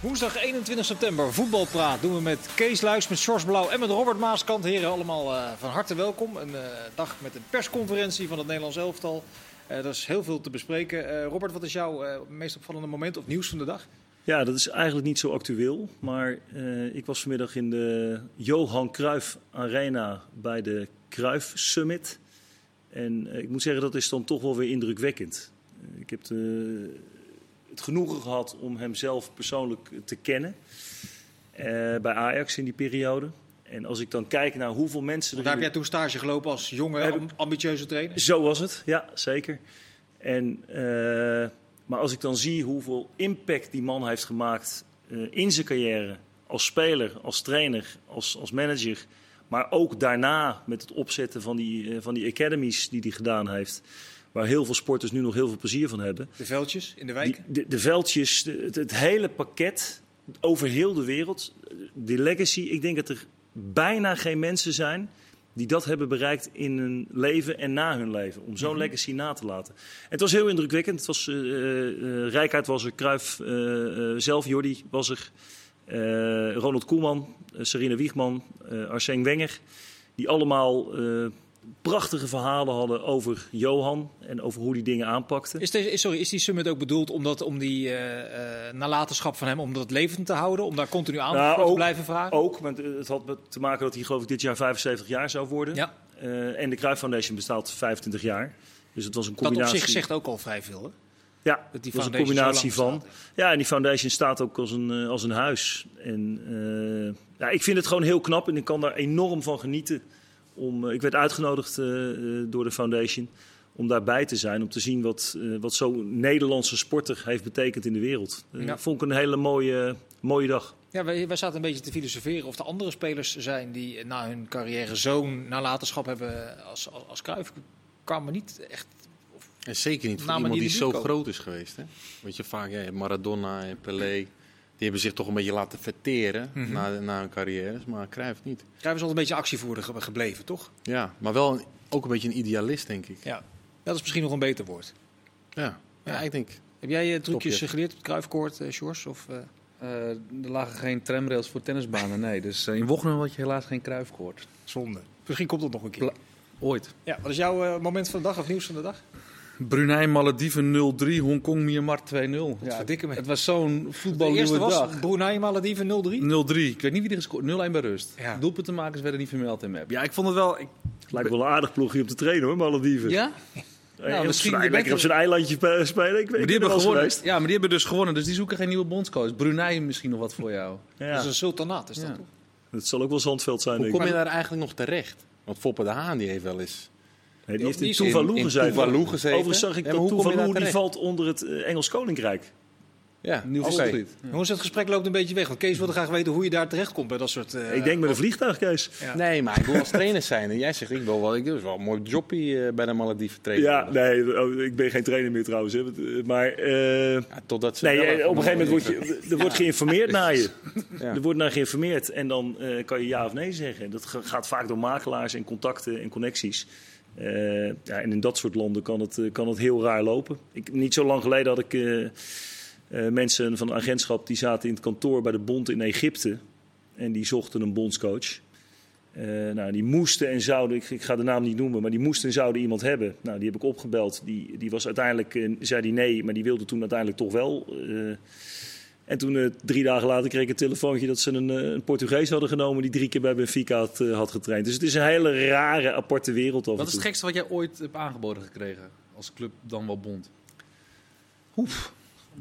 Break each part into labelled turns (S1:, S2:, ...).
S1: Woensdag 21 september, voetbalpraat doen we met Kees Luijks, met Sjors Blauw en met Robert Maaskant. Heren, allemaal eh, van harte welkom. Een eh, dag met een persconferentie van het Nederlands elftal. Eh, er is heel veel te bespreken. Eh, Robert, wat is jouw eh, meest opvallende moment of nieuws van de dag?
S2: Ja, dat is eigenlijk niet zo actueel. Maar eh, ik was vanmiddag in de Johan Cruijff Arena bij de Cruijff Summit. En eh, ik moet zeggen, dat is dan toch wel weer indrukwekkend. Eh, ik heb de- het genoegen gehad om hem zelf persoonlijk te kennen. eh, bij Ajax in die periode. En als ik dan kijk naar hoeveel mensen er...
S1: Want daar
S2: in
S1: heb
S2: de-
S1: jij toen stage gelopen als jonge,
S2: Heb
S1: am- ambitieuze trainer.
S2: zo was het, ja, zeker. En, eh, maar als ik dan zie hoeveel impact die man heeft gemaakt eh, in zijn carrière. Als speler, als trainer, als, als manager. Maar ook daarna met het opzetten van die, eh, van die academies die hij gedaan heeft. Waar heel veel sporters nu nog heel veel plezier van hebben.
S1: De veldjes in de wijk.
S2: Die- de, de veldjes, de- het, het hele pakket over heel de wereld. Die legacy, ik denk dat er bijna geen mensen zijn die dat hebben bereikt in hun leven en na hun leven. Om zo'n legacy na te laten. Het was heel indrukwekkend. Het was, eh eh, eh, Rijkaard was er, Kruif zelf, Jordi was er. eh, Ronald Koeman, eh, Serena Wiegman, eh Arsène Wenger. Die allemaal eh, prachtige verhalen hadden over Johan en over hoe die dingen aanpakte.
S1: Is, deze, is- sorry, is die summit ook bedoeld om, dat, om die eh, eh, nalatenschap van hem om dat levend te houden? Om daar continu aandacht
S2: Nou,
S1: voor te
S2: ook-
S1: blijven vragen?
S2: Ook, want eh, het had met- te maken dat hij geloof ik dit jaar 75 jaar zou worden.
S1: Ja,
S2: Eh, en de Cruijff Foundation bestaat 25 jaar. Dus het was een
S1: dat op
S2: combinatie.
S1: zich zegt ook al vrij veel. Hè?
S2: ja,
S1: Dat die
S2: was
S1: foundation
S2: een
S1: zo
S2: combinatie
S1: lang
S2: van.
S1: bestaat.
S2: Ja, en die foundation staat ook als een, eh, als een huis. En eh, ja, ik vind het gewoon heel knap en ik kan daar enorm van genieten. Om, eh, ik werd uitgenodigd eh, eh, door de foundation om daarbij te zijn. Om te zien wat, eh, wat zo'n Nederlandse sporter heeft betekend in de wereld. Eh,
S1: Ja.
S2: Vond ik een hele mooie, mooie dag.
S1: Ja, wij, wij zaten een beetje te filosoferen of er andere spelers zijn die na hun carrière zo'n nalatenschap hebben als, als, als Cruijff. Kwam er niet echt.
S3: En zeker niet voor
S1: Namen
S3: iemand
S1: die in de
S3: die, zo
S1: buurt komen.
S3: groot is geweest. Hè? Want je vaak, ja, je hebt Maradona en Pelé, die hebben zich toch een beetje laten verteren na, na hun carrières, maar Cruijff niet.
S1: Cruijff is altijd een beetje actievoerder ge- gebleven, toch?
S3: Ja, maar wel een- ook een beetje een idealist, denk ik.
S1: Ja. Dat is misschien nog een beter woord.
S3: Ja, ja.
S1: Ja.
S3: ik denk,
S1: Heb jij eh, trucjes
S3: Topje.
S1: eh, geleerd op Cruijffkoord, eh Sjors? Of, eh,
S4: Eh, er lagen geen tramrails voor tennisbanen, nee. Dus eh, in Wochnum had je helaas geen kruifkoord.
S1: Zonde. Misschien komt dat nog een keer.
S4: Pla- Ooit.
S1: Ja, wat is jouw eh, moment van de dag of nieuws van de dag?
S4: Brunei, Malediven 0-3, Hongkong, Myanmar 2-0.
S1: Ja, dikke me.
S4: Het was zo'n
S1: De eerste
S4: voetbalnieuwe
S1: was
S4: dag. 0-3.
S1: Brunei Malediven 0-3.
S4: Ik weet niet wie er gescoord 0-1 bij rust.
S1: Ja.
S4: Doelpuntenmakers werden niet vermeld in map.
S5: Ja, ik vond het wel. Ik,
S2: Het Lijkt wel een aardig ploegje om te trainen hoor, Malediven.
S4: Ja?
S2: Eh,
S4: Nou,
S2: dat is
S4: misschien
S2: vrij
S4: de
S2: lekker op
S4: betere-
S2: zijn eilandje spe- spelen. Ik, ik
S4: Maar
S2: ben
S4: die,
S2: er wel
S4: hebben
S2: eens
S4: gewonnen.
S2: geweest.
S4: ja, maar die hebben dus gewonnen, dus die zoeken geen nieuwe bondscoach. Brunei misschien nog wat voor jou.
S1: Dat is
S2: Ja.
S1: een sultanaat, is dat
S4: Ja.
S1: toch?
S2: Het zal ook wel Zandveld zijn,
S3: Dus, eh, hoe
S2: denk ik.
S3: kom je daar eigenlijk nog terecht? Want Foppe de Haan die heeft wel eens...
S2: Nee, die heeft
S1: Die
S2: in
S1: is
S3: in-
S2: Tuvalu
S3: in
S2: gezeten.
S3: Tuvalu gezeten.
S2: Overigens zag ik
S3: Ja,
S2: dat
S3: maar hoe kom je
S2: Tuvalu
S3: daar
S2: die
S3: terecht?
S2: valt onder het eh, Engels Koninkrijk.
S3: Ja,
S4: Nieuw
S3: oké.
S4: voetbalgebied.
S1: Jongens, het gesprek loopt een beetje weg. Want Kees wilde graag weten hoe je daar terecht komt bij dat soort. eh,
S2: ik denk met een vliegtuig, Kees.
S1: Ja.
S3: Nee, maar ik wil als trainer zijn. En jij zegt, ik wil wel, ik doe is wel een mooi jobpie eh, bij de Malediven trainen.
S2: Ja, nee, oh, ik ben geen trainer meer trouwens. Hè, want, eh, maar eh,
S3: Ja, totdat ze wel
S2: nee, eh,
S3: even
S2: op een gegeven moment
S3: nog
S2: wordt je, er wordt geïnformeerd naar je.
S3: Ja.
S2: Er wordt naar geïnformeerd en dan eh, kan je ja of nee zeggen. En Dat ga- gaat vaak door makelaars en contacten en connecties. Eh, ja, en in dat soort landen kan het, eh, kan het heel raar lopen. Ik, niet zo lang geleden had ik eh, eh, mensen van een agentschap die zaten in het kantoor bij de Bond in Egypte. En die zochten een bondscoach. Eh, nou, die moesten en zouden, ik, ik ga de naam niet noemen, maar die moesten en zouden iemand hebben. Nou, die heb ik opgebeld. Die, die was uiteindelijk, eh, zei die nee, maar die wilde toen uiteindelijk toch wel. eh, en toen eh, drie dagen later kreeg ik een telefoontje dat ze een, eh, een Portugees hadden genomen die drie keer bij Benfica had, eh, had getraind. Dus het is een hele rare, aparte wereld. af en
S4: Wat is
S2: toe.
S4: het gekste wat jij ooit hebt aangeboden gekregen? Als club dan wel bond.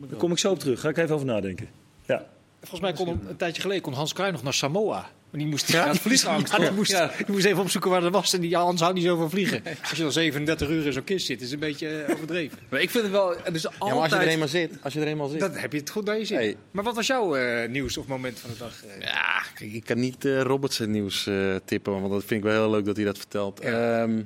S2: Daar kom ik zo op terug. Ga ik even over nadenken. Ja.
S1: Volgens mij kon een, een tijdje geleden kon Hans Kruij nog naar Samoa. Maar die moest ja, verliesangst. Die, moest,
S4: Ja.
S1: die moest even opzoeken waar dat was. En die Hans houdt niet zo van vliegen. Als je dan 37 uur in zo'n kist zit, is een beetje eh, overdreven.
S4: Maar ik vind het wel... Er is
S3: Ja, maar als je er
S4: altijd
S3: eenmaal zit, als je er eenmaal zit.
S1: Dan heb je het goed naar je zin.
S3: Hey.
S1: Maar wat was jouw eh, nieuws of moment van de dag? eh?
S3: Ja, kijk, ik kan niet eh Roberts het nieuws eh, tippen, want dat vind ik wel heel leuk dat hij dat vertelt. Ehm,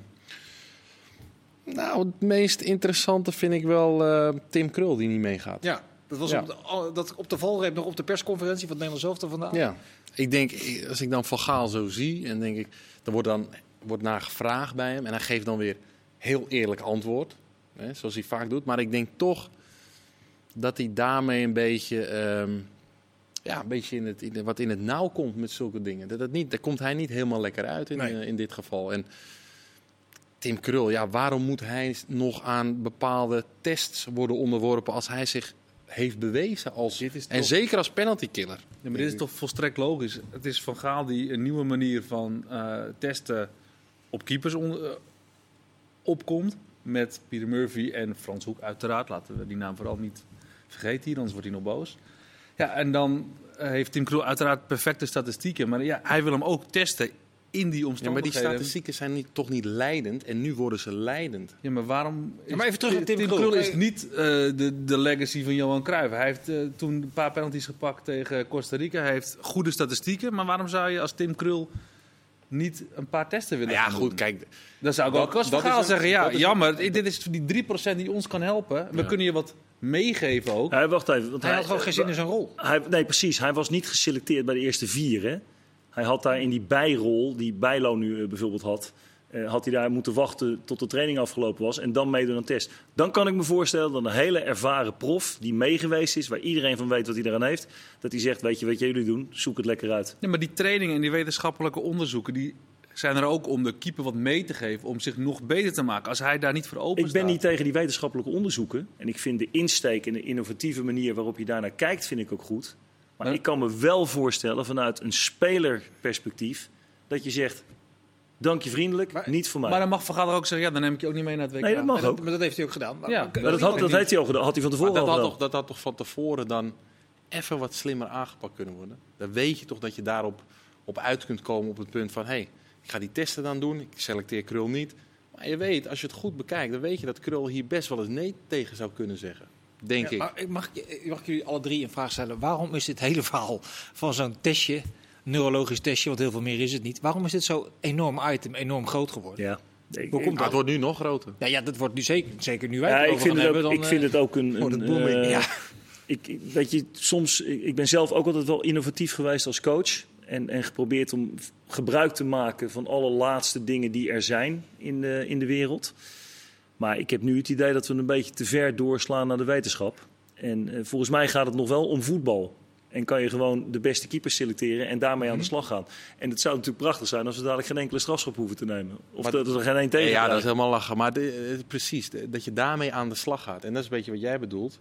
S3: nou, het meest interessante vind ik wel eh, Tim Krul die niet meegaat.
S1: Ja, dat was
S3: Ja.
S1: Op, de, al- dat, op de valreep nog op de persconferentie van het Nederlands zelf vandaag.
S3: Ja. Ik denk, ik- als ik dan Van Gaal zo zie, en denk ik, er wordt dan wordt naar gevraagd bij hem. En hij geeft dan weer heel eerlijk antwoord, hè, zoals hij vaak doet. Maar ik denk toch dat hij daarmee een beetje ehm, ja, een beetje in het, in de- wat in het nauw komt met zulke dingen. Dat, dat niet, daar komt hij niet helemaal lekker uit in,
S1: Nee.
S3: eh, in dit geval. En Tim Krul, ja, waarom moet hij nog aan bepaalde tests worden onderworpen als hij zich heeft bewezen als...
S4: Dit is
S3: en
S4: toch-
S3: zeker als penalty killer.
S4: Ja, maar dit is toch volstrekt logisch. Het is Van Gaal die een nieuwe manier van eh, testen op keepers on- eh, opkomt. Met Peter Murphy en Frans Hoek uiteraard. Laten we die naam vooral niet vergeten hier, anders wordt hij nog boos. Ja, en dan eh, heeft Tim Krul uiteraard perfecte statistieken. Maar ja, hij wil hem ook testen in die
S3: Ja, maar die
S4: omstandigheden.
S3: statistieken zijn niet, toch niet leidend en nu worden ze leidend.
S4: Ja, maar waarom...
S1: Ja, maar even terug naar Tim Krul.
S4: is niet eh, de, de legacy van Johan Cruijff. Hij heeft eh, toen een paar penalties gepakt tegen Costa Rica. Hij heeft goede statistieken. Maar waarom zou je als Tim Krul niet een paar testen willen
S3: Ja,
S4: gaan
S3: goed,
S4: doen?
S3: kijk,
S4: Dan zou ik
S3: dat-
S4: ook als
S3: dat
S4: Van Gaal
S3: is een-
S4: zeggen, ja,
S3: dat is een-
S4: jammer. dit is die 3% die ons kan helpen. We kunnen je wat meegeven ook.
S2: Hij, wacht even. Want
S1: Hij had gewoon geen zin in
S2: eh,
S1: zijn rol.
S2: hij, Nee, precies. Hij was niet geselecteerd bij de eerste vier. Hè? Hij had daar in die bijrol, die Bijlo nu eh, bijvoorbeeld had... eh, had hij daar moeten wachten tot de training afgelopen was en dan meedoen aan test. Dan kan ik me voorstellen dat een hele ervaren prof die meegeweest is... waar iedereen van weet wat hij eraan heeft... dat hij zegt, weet je wat jullie doen? Zoek het lekker uit.
S4: Ja, maar die trainingen en die wetenschappelijke onderzoeken... Die zijn er ook om de keeper wat mee te geven. Om zich nog beter te maken. Als hij daar niet voor open
S2: Ik ben niet tegen die wetenschappelijke onderzoeken. En ik vind de insteek en de innovatieve manier waarop je daarnaar kijkt, vind ik ook goed. Maar
S4: Maar-
S2: ik kan me wel voorstellen vanuit een spelerperspectief dat je zegt: dank je vriendelijk,
S1: Maar-
S2: niet voor mij.
S4: Maar dan mag Van Gaal er ook zeggen, ja, dan neem ik je ook niet mee naar het WK.
S2: nee, dat
S1: Maar
S2: mag
S1: dat,
S2: ook.
S1: maar dat heeft hij ook gedaan. Maar-
S4: Ja,
S1: maar-
S4: maar
S2: Maar dat, had, dat heeft hij al gedaan. Had hij van tevoren
S3: Maar dat
S2: al
S3: had,
S2: gedaan.
S3: toch, dat had toch van tevoren dan even wat slimmer aangepakt kunnen worden? Dan weet je toch dat je daarop op uit kunt komen op het punt van... hé, hey, ik ga die testen dan doen, ik selecteer Krul niet. Maar je weet, als je het goed bekijkt, dan weet je dat Krul hier best wel eens nee tegen zou kunnen zeggen. Denk
S1: Ja,
S3: ik.
S1: maar mag, ik- mag ik jullie alle drie een vraag stellen? Waarom is dit hele verhaal van zo'n testje, neurologisch testje, want heel veel meer is het niet, waarom is dit zo'n enorm item, enorm groot geworden?
S2: Ja. Ik,
S1: Hoe komt
S3: Maar het
S1: dat?
S3: wordt nu nog groter.
S1: Nou ja, dat wordt nu zeker, zeker nu wij
S2: ja,
S1: het
S2: ik
S1: erover
S2: vind,
S1: gaan
S2: het ook,
S1: hebben. dan,
S2: ik vind
S1: eh,
S2: het ook een.
S1: wordt
S2: een,
S1: het booming.
S2: eh,
S1: Ja.
S2: ik, ik- weet je, soms, ik ik ben zelf ook altijd wel innovatief geweest als coach. En, en geprobeerd om f- gebruik te maken van alle laatste dingen die er zijn in de, in de wereld. Maar ik heb nu het idee dat we een beetje te ver doorslaan naar de wetenschap. En eh, volgens mij gaat het nog wel om voetbal. En kan je gewoon de beste keepers selecteren en daarmee aan de
S3: Mhm.
S2: slag gaan. En het zou natuurlijk prachtig zijn als we dadelijk geen enkele strafschop hoeven te nemen. Of
S3: Maar-
S2: dat we er geen één
S3: Ja,
S2: tegen
S3: dat is
S2: krijgen.
S3: helemaal lachen. Maar de- eh, precies, de- dat je daarmee aan de slag gaat. En dat is een beetje wat jij bedoelt.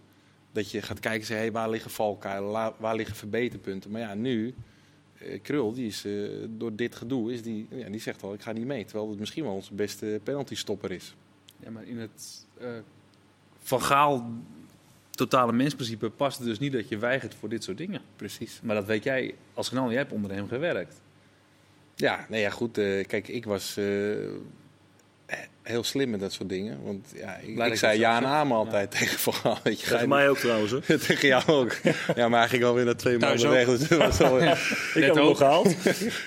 S3: Dat je gaat kijken, en zeggen, hey, waar liggen valkuilen, la- waar liggen verbeterpunten. Maar ja, nu, eh, Krul, die is, eh, door dit gedoe, is die, ja, die zegt al, ik ga niet mee. Terwijl het misschien wel onze beste penaltystopper is.
S4: Ja, maar in het eh, Van Gaal totale mensprincipe past het dus niet dat je weigert voor dit soort dingen.
S3: Precies.
S4: Maar dat weet jij als kanaal, jij hebt onder hem gewerkt.
S3: Ja, nee, ja, goed. eh, kijk, ik was eh, heel slim met dat soort dingen. Want ja, ik,
S4: dat
S3: ik
S4: je
S3: zei
S4: het
S3: ja
S4: zelf
S3: en amen altijd tegen Van Gaal. Weet je, ga
S2: Tegen
S3: je
S2: mij ook trouwens. Hoor.
S3: niet- tegen jou ook. Ja, maar hij ging alweer naar twee
S1: Thuis
S3: maanden weg. Dus dat was alweer-
S2: Ik heb hem
S4: ook.
S2: nog gehaald.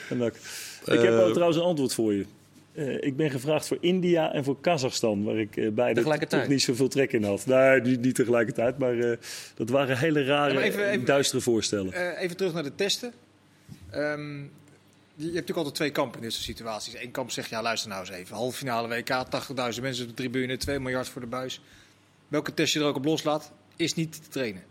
S2: En dank. ik heb
S3: Eh,
S2: wel trouwens een antwoord voor je. Eh, ik ben gevraagd voor India en voor Kazachstan, waar ik eh, beide
S4: Tegelijkertijd?
S2: toch niet zoveel trek in had. Nee, niet, niet tegelijkertijd, maar eh, dat waren hele rare,
S1: Ja, maar even- even-
S2: duistere voorstellen.
S1: Eh, even terug naar de testen. Ehm, je- je hebt natuurlijk altijd twee kampen in dit soort situaties. Eén kamp zegt, ja luister nou eens even. Halve finale WK, 80.000 mensen op de tribune, 2 miljard voor de buis. Welke test je er ook op loslaat, is niet te trainen.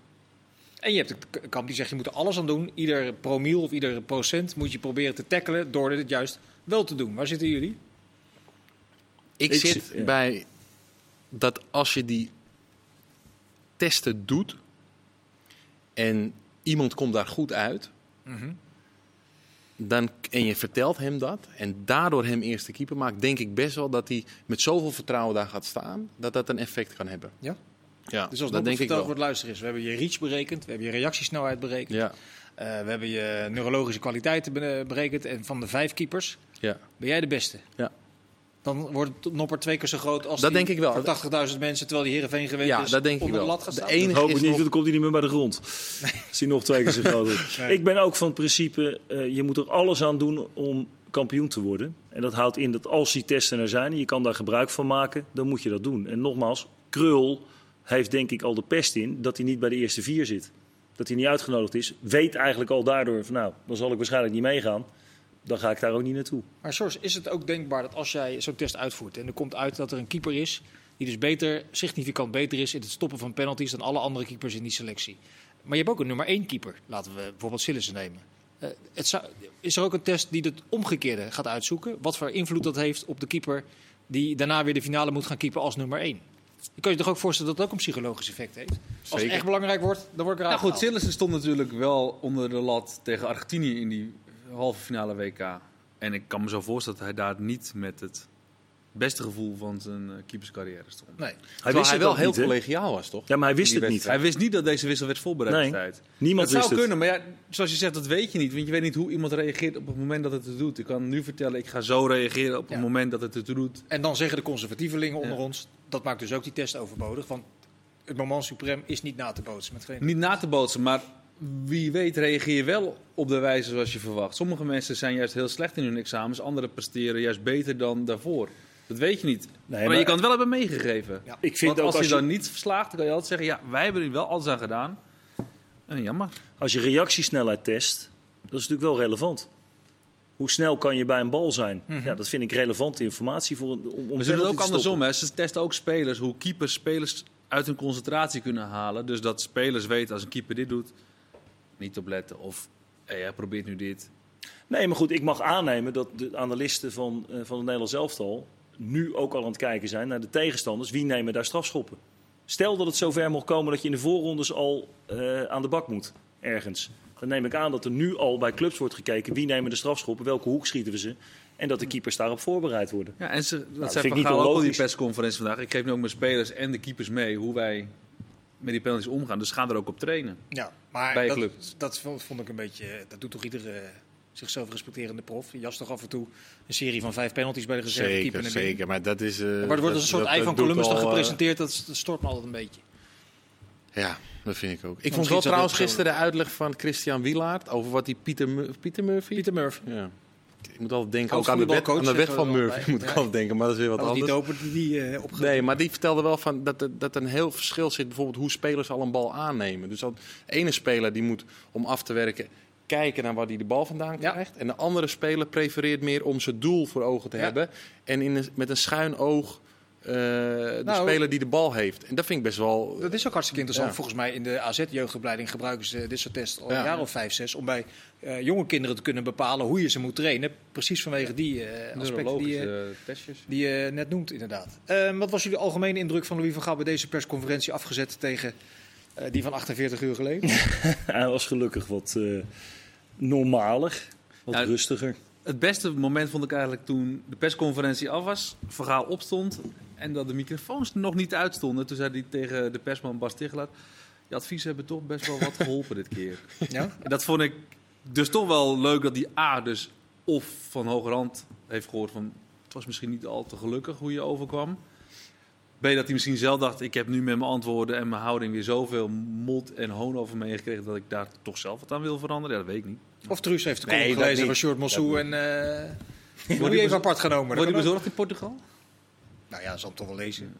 S1: En je hebt een k- kamp die zegt, je moet er alles aan doen. Ieder promiel of ieder procent moet je proberen te tackelen door dit juist wel te doen. Waar zitten jullie?
S3: Ik,
S2: Ik
S3: zit
S2: zi- ja.
S3: bij dat als je die testen doet en iemand komt daar goed uit,
S1: Mhm.
S3: dan, en je vertelt hem dat en daardoor hem eerste keeper maakt, denk ik best wel dat hij met zoveel vertrouwen daar gaat staan, dat dat een effect kan hebben.
S1: Ja?
S3: Ja,
S1: Dus als
S3: dat
S1: dat
S3: denk ik
S1: verteld
S3: wel.
S1: wordt, luister eens. We hebben je reach berekend, we hebben je reactiesnelheid berekend.
S3: Ja,
S1: eh, we hebben je neurologische kwaliteiten be- berekend. En van de vijf keepers
S3: ja.
S1: Ben jij de beste?
S3: Ja.
S1: Dan wordt het Nopper twee keer zo groot als
S3: Dat
S1: die
S3: denk ik wel.
S1: voor 80.000 mensen, terwijl die Heerenveen gewend
S3: Ja,
S1: is,
S3: dat denk ik
S1: onder de
S3: wel.
S1: lat gaat
S3: De
S1: staan. Dus
S3: enige-
S2: Ik hoop
S3: is
S2: het niet,
S3: nog-
S2: want dan komt hij niet meer bij de grond. Als hij nog twee keer zo groot wordt.
S1: Nee.
S2: Ik ben ook van het principe, eh, je moet er alles aan doen om kampioen te worden. En dat houdt in dat als die testen er zijn en je kan daar gebruik van maken, dan moet je dat doen. En nogmaals, Krul heeft denk ik al de pest in dat hij niet bij de eerste vier zit. Dat hij niet uitgenodigd is. Weet eigenlijk al daardoor van nou, dan zal ik waarschijnlijk niet meegaan. Dan ga ik daar ook niet naartoe.
S1: Maar Sjors, is het ook denkbaar dat als jij zo'n test uitvoert en er komt uit dat er een keeper is die dus beter, significant beter is in het stoppen van penalties dan alle andere keepers in die selectie. Maar je hebt ook een nummer 1 keeper. Laten we bijvoorbeeld Sillissen nemen. Eh, het zou- is er ook een test die het omgekeerde gaat uitzoeken? Wat voor invloed dat heeft op de keeper die daarna weer de finale moet gaan keeper als nummer 1? Je kan je toch ook voorstellen dat dat ook een psychologisch effect heeft? Als het
S3: Zeker.
S1: echt belangrijk wordt, dan word ik
S4: Nou
S1: eruit
S4: goed,
S1: gehaald.
S4: Sillissen stond natuurlijk wel onder de lat tegen Argentinië in die halve finale WK. En ik kan me zo voorstellen dat hij daar niet met het beste gevoel van zijn eh, keeperscarrière stond.
S1: Nee.
S3: Hij
S2: wist
S3: hij
S2: het
S3: wel
S2: ook
S3: heel
S2: niet, hè?
S3: collegiaal was, toch?
S2: Ja, maar hij wist
S3: die
S2: het niet.
S4: Hij wist niet dat deze wissel werd voorbereid
S2: Nee.
S4: destijds.
S2: Niemand
S4: dat
S2: wist
S4: zou
S2: het.
S4: kunnen, maar ja, zoals je zegt, dat weet je niet. Want je weet niet hoe iemand reageert op het moment dat het het doet. Ik kan nu vertellen, ik ga zo reageren op
S1: Ja.
S4: het moment dat het het doet.
S1: En dan zeggen de conservatievelingen onder
S4: Ja.
S1: ons, dat maakt dus ook die test overbodig. Want het moment suprem is niet na te bootsen met geen
S4: Niet na te bootsen, maar wie weet reageer je wel op de wijze zoals je verwacht. Sommige mensen zijn juist heel slecht in hun examens. Anderen presteren juist beter dan daarvoor. Dat weet je niet. maar,
S2: maar-
S4: je kan het wel hebben meegegeven.
S1: Ja.
S2: Ik vind
S4: Want
S2: ook
S4: als,
S2: als
S4: je
S2: je,
S4: dan niet verslaagt, dan kan je altijd zeggen... ja, wij hebben er wel alles aan gedaan. En jammer.
S2: als je reactiesnelheid test, dat is natuurlijk wel relevant. Hoe snel kan je bij een bal zijn? Ja, dat vind ik relevante informatie voor een- om, om
S4: Mhm. Maar ze doen
S2: penalty
S4: het ook
S2: te
S4: andersom.
S2: stoppen.
S4: Hè. Ze testen ook spelers, hoe keepers spelers uit hun concentratie kunnen halen. Dus dat spelers weten als een keeper dit doet, niet op letten. Of hé, hij probeert nu dit.
S2: Nee, maar goed, ik mag aannemen dat de analisten van, eh, van het Nederlands elftal nu ook al aan het kijken zijn naar de tegenstanders. Wie nemen daar strafschoppen? Stel dat het zover mocht komen dat je in de voorrondes al eh, aan de bak moet, ergens. Dan neem ik aan dat er nu al bij clubs wordt gekeken wie nemen de strafschoppen, welke hoek schieten we ze. En dat de
S4: Mhm.
S2: keepers daarop voorbereid worden.
S4: Ja, en ze, dat
S2: Nou, vind
S4: zei
S2: ik
S4: Van
S2: niet
S4: Gaal ook al die
S2: onlogisch.
S4: persconferentie vandaag. Ik geef nu ook mijn spelers en de keepers mee hoe wij met die penalties omgaan. Dus ze gaan er ook op trainen.
S1: Ja, maar
S4: Bij je
S1: dat,
S4: club.
S1: dat vond vond ik een beetje. Dat doet toch iedere zichzelf respecterende prof. Je jas toch af en toe een serie van vijf penalties bij de reserve keeper.
S3: Zeker,
S1: naar binnen?
S3: zeker. Maar dat is... eh,
S1: Maar het wordt als een
S3: dat-
S1: soort
S3: dat-
S1: ei
S3: dat
S1: van
S3: doet
S1: Columbus dan
S3: al, eh,
S1: gepresenteerd. Dat, dat stort me altijd een beetje.
S3: Ja, dat vind ik ook. Ik
S1: misschien is dat
S3: vond wel
S1: heel
S3: trouwens
S1: persoonlijk.
S3: gisteren de uitleg van Christian Wilaert over wat die Pieter, Mur- Pieter Murphy...
S1: Pieter Murphy.
S3: Ja. Ik moet altijd denken,
S1: Oud
S3: ook aan de, wet,
S1: voetbalcoach,
S3: aan de wet
S1: zeggen
S3: van
S1: we er al
S3: Murphy
S1: bij.
S3: moet ik
S1: Ja.
S3: altijd denken, maar dat is weer wat
S1: Dat was die
S3: anders.
S1: doper die die eh, opge-
S3: Nee, maar die vertelde wel van dat, er- dat er een heel verschil zit bijvoorbeeld hoe spelers al een bal aannemen. Dus dat ene speler die moet om af te werken kijken naar waar hij de bal vandaan
S1: Ja.
S3: krijgt. En de andere speler prefereert meer om zijn doel voor ogen te
S1: Ja.
S3: hebben. En in een- met een schuin oog eh, de
S1: Nou,
S3: speler die de bal heeft. En dat vind ik best wel...
S1: Dat is ook hartstikke interessant.
S3: Ja.
S1: Volgens mij in de AZ-jeugdopleiding gebruiken ze dit soort tests al een
S3: Ja.
S1: jaar of vijf, zes. Om bij eh, jonge kinderen te kunnen bepalen hoe je ze moet trainen. Precies vanwege die eh aspecten die, eh,
S4: Neurologische testjes.
S1: die je net noemt inderdaad. Ehm, wat was jullie algemene indruk van Louis van Gaal bij deze persconferentie afgezet tegen eh, die van 48 uur geleden?
S2: Hij was gelukkig wat eh, normaler, wat
S4: Nou,
S2: rustiger.
S4: Het beste moment vond ik eigenlijk toen de persconferentie af was, verhaal opstond en dat de microfoons nog niet uitstonden. Toen zei hij tegen de persman Bas Tichelaar, je adviezen hebben toch best wel wat geholpen dit keer.
S1: ja?
S4: En dat vond ik dus toch wel leuk dat die A dus of van hogerhand heeft gehoord van het was misschien niet al te gelukkig hoe je overkwam. B dat hij misschien zelf dacht ik heb nu met mijn antwoorden en mijn houding weer zoveel mot en hoon over me heen gekregen dat ik daar toch zelf wat aan wil veranderen. Ja, dat weet ik niet.
S1: Of Truus heeft de
S2: Nee,
S1: column
S2: dat
S1: gelezen
S2: niet.
S1: van Short Mossou en eh
S4: Wordt
S1: die
S4: die
S1: even
S4: bezo-
S1: apart genomen.
S4: Wordt
S1: Dat
S4: hij
S1: kan ook.
S4: bezorgd in Portugal?
S1: Nou ja, zal hem toch wel lezen.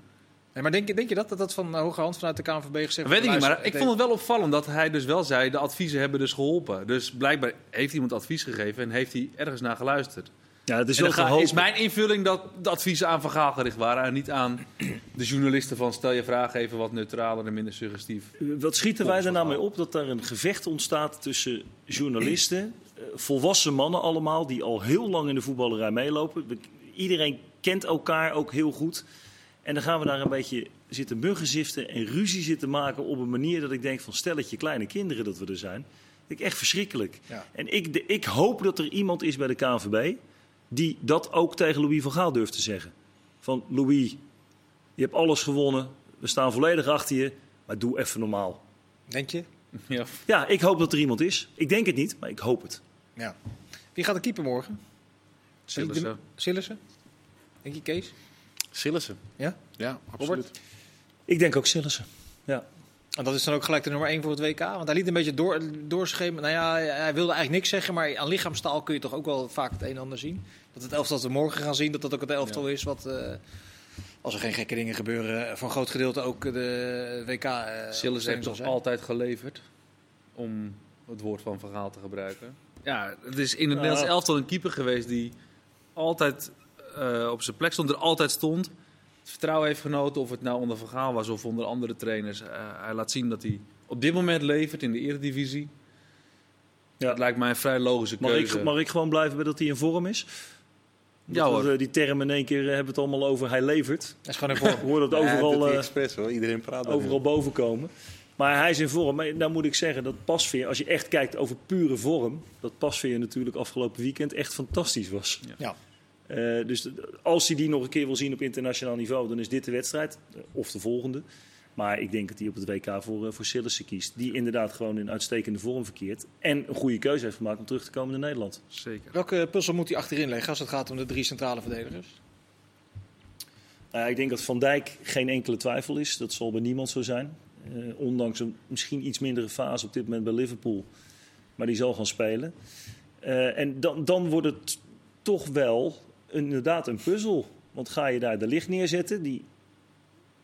S1: Nee, maar denk, je- denk je dat, dat dat van eh, hoge hand vanuit de KNVB gezegd
S4: Dat
S1: wordt?
S4: weet ik niet,
S1: Luister,
S4: maar ik vond het wel opvallend dat hij dus wel zei: de adviezen hebben dus geholpen. Dus blijkbaar heeft iemand advies gegeven en heeft hij ergens naar geluisterd.
S2: Ja, het is
S4: En
S2: wel
S4: dan ga-
S2: gehoord.
S4: is mijn invulling dat de adviezen aan Van Gaal gericht waren en niet aan de journalisten van stel je vragen even wat neutraler en minder suggestief.
S2: Wat schieten wij er nou mee op dat daar een gevecht ontstaat tussen journalisten, eh, volwassen mannen allemaal, die al heel lang in de voetballerij meelopen. We- Iedereen kent elkaar ook heel goed. En dan gaan we daar een beetje zitten muggenziften en ruzie zitten maken op een manier dat ik denk van stelletje kleine kinderen dat we er zijn. Ik echt verschrikkelijk.
S1: Ja.
S2: En ik, de- ik hoop dat er iemand is bij de KNVB die dat ook tegen Louis van Gaal durft te zeggen. Van Louis, je hebt alles gewonnen, we staan volledig achter je, maar doe even normaal.
S1: Denk je?
S4: Ja.
S2: Ja, ik hoop dat er iemand is. Ik denk het niet, maar ik hoop het.
S1: Ja. Wie gaat de keeper morgen?
S4: Sillissen.
S1: Sillissen? Denk je Kees?
S3: Sillissen.
S1: Ja?
S3: Ja, absoluut.
S1: Robert?
S2: Ik denk ook Sillissen. Ja.
S1: En dat is dan ook gelijk de nummer 1 voor het WK. Want hij liet een beetje door, doorschemen. Nou ja, hij- hij wilde eigenlijk niks zeggen. Maar aan lichaamstaal kun je toch ook wel vaak het een en ander zien. Dat het elftal dat we morgen gaan zien, dat dat ook het elftal is. Wat, eh, als er geen gekke dingen gebeuren, eh, voor een groot gedeelte ook de WK. eh,
S4: Sillis
S1: opstelling
S4: heeft
S1: zal
S4: toch
S1: zijn.
S4: altijd geleverd, om het woord van Van Gaal te gebruiken. Ja, het is in het
S2: Ja.
S4: Nederlands elftal een keeper geweest die altijd eh, op zijn plek stond, er altijd stond. Het vertrouwen heeft genoten, of het nou onder Van Gaal was of onder andere trainers. Eh, hij laat zien dat hij ook op dit moment levert in de Eredivisie.
S2: Ja.
S4: Dat lijkt mij een vrij logische
S2: Mag
S4: keuze.
S2: ik, mag ik gewoon blijven bij dat hij in vorm is?
S4: Ja,
S2: Dat we,
S4: hoor.
S2: eh, die term in één keer eh, hebben we het allemaal over hij levert.
S1: Dat is gewoon
S2: Ik
S1: ervoor.
S2: hoor dat overal,
S3: dat
S2: eh,
S3: is expres hoor. Iedereen praat daarin.
S2: overal boven komen. Maar hij is in vorm. Maar dan moet ik zeggen dat Pasveer, als je echt kijkt over pure vorm, dat Pasveer natuurlijk afgelopen weekend echt fantastisch was.
S1: Ja.
S2: Eh, dus d- als hij die nog een keer wil zien op internationaal niveau, dan is dit de wedstrijd. eh, Of de volgende. Maar ik denk dat hij op het WK voor, eh, voor Sillissen kiest. Die inderdaad gewoon in uitstekende vorm verkeert. En een goede keuze heeft gemaakt om terug te komen naar Nederland.
S4: Zeker.
S1: Welke puzzel moet hij achterin leggen als het gaat om de drie centrale verdedigers?
S2: Nou ja, ik denk dat Van Dijk geen enkele twijfel is. Dat zal bij niemand zo zijn. Eh, ondanks een misschien iets mindere fase op dit moment bij Liverpool. Maar die zal gaan spelen. Eh, en dan, dan wordt het toch wel inderdaad een puzzel. Want ga je daar de licht neerzetten die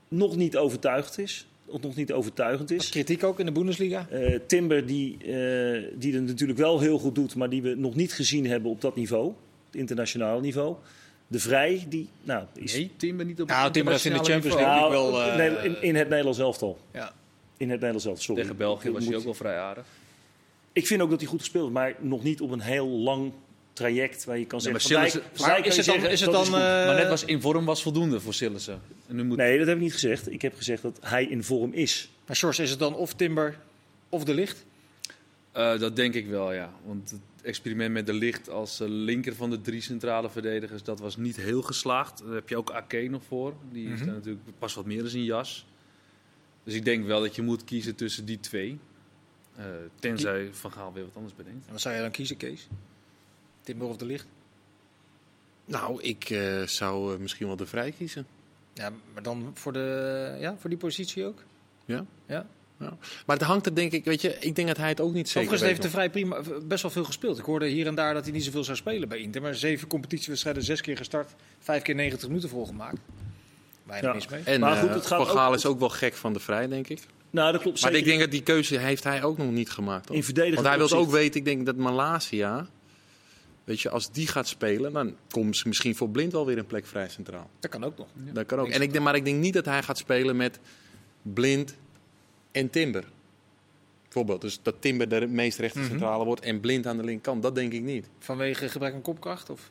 S2: nog niet overtuigd is. Of nog niet overtuigend
S1: Dat is
S2: is.
S1: kritiek ook in de Bundesliga.
S2: Eh, Timber die, eh, die het natuurlijk wel heel goed doet, maar die we nog niet gezien hebben op dat niveau. Het internationale niveau. De Vrij die nou, is
S4: Nee, Timber niet op het
S1: Nou, Timber heeft in de
S4: internationale
S1: Champions League
S2: nou,
S1: natuurlijk wel, eh,
S2: nee, in, in het Nederlands elftal.
S1: Ja.
S2: In het Nederlands elftal, sorry.
S4: Tegen België
S2: Ik
S4: was
S2: moet-
S4: hij ook wel vrij aardig.
S2: Ik vind ook dat hij goed gespeeld heeft, maar nog niet op een heel lang traject waar je kan
S4: Nee,
S2: zeggen...
S4: maar
S2: van Dijk-
S4: Sillissen-
S2: Van
S1: maar
S2: Dijk
S1: is
S2: kan je
S1: het dan-
S2: zeggen,
S1: is het
S2: dat
S1: dan,
S2: goed.
S1: eh,
S4: maar net was in vorm was voldoende voor Sillissen. En nu moet
S2: Nee, dat heb ik niet gezegd. Ik heb gezegd dat hij in vorm is.
S1: Maar Sjors, is het dan of Timber of de licht?
S4: Eh, dat denk ik wel, ja. Want het experiment met de licht als eh, linker van de drie centrale verdedigers, dat was niet heel geslaagd. Daar heb je ook Ake nog voor. Die is
S1: Mhm.
S4: daar natuurlijk pas wat meer in zijn jas. Dus ik denk wel dat je moet kiezen tussen die twee. Eh, tenzij Van Gaal weer wat anders bedenkt.
S1: En wat zou jij dan kiezen, Kees? Timber of de licht?
S3: Nou, ik eh, zou eh, misschien wel de vrij kiezen.
S1: Ja, maar dan voor, de, ja, voor die positie ook?
S3: Ja.
S1: ja.
S3: Maar het hangt er denk ik, weet je, ik denk dat hij het ook niet zeker
S1: Overigens
S3: weet.
S1: heeft de Vrij prima, best wel veel gespeeld. Ik hoorde hier en daar dat hij niet zoveel zou spelen bij Inter. Maar zeven competitiewedstrijden, zes keer gestart, vijf keer 90 minuten volgemaakt. Weinig
S2: Ja.
S1: mis mee.
S3: En
S2: Maar
S3: eh,
S2: goed, het gaat
S3: Van Gaal
S2: ook-
S3: is ook wel gek van de vrij, denk ik.
S2: Nou, dat klopt
S3: Maar
S2: zeker.
S3: ik denk dat die keuze heeft hij ook nog niet gemaakt. hoor.
S2: in verdedigend
S3: Want hij wil
S2: opzicht-
S3: ook weten, ik denk dat Malasia, weet je, als die gaat spelen, dan komt ze misschien voor blind wel weer een plek vrij centraal.
S1: Dat kan ook nog.
S3: Dat kan ook. En ik denk, maar ik denk niet dat hij gaat spelen met blind en timber. Bijvoorbeeld, dus dat timber de meest
S2: Mhm.
S3: rechter centrale wordt en blind aan de linkerkant, dat denk ik niet.
S1: Vanwege gebrek aan kopkracht? Of?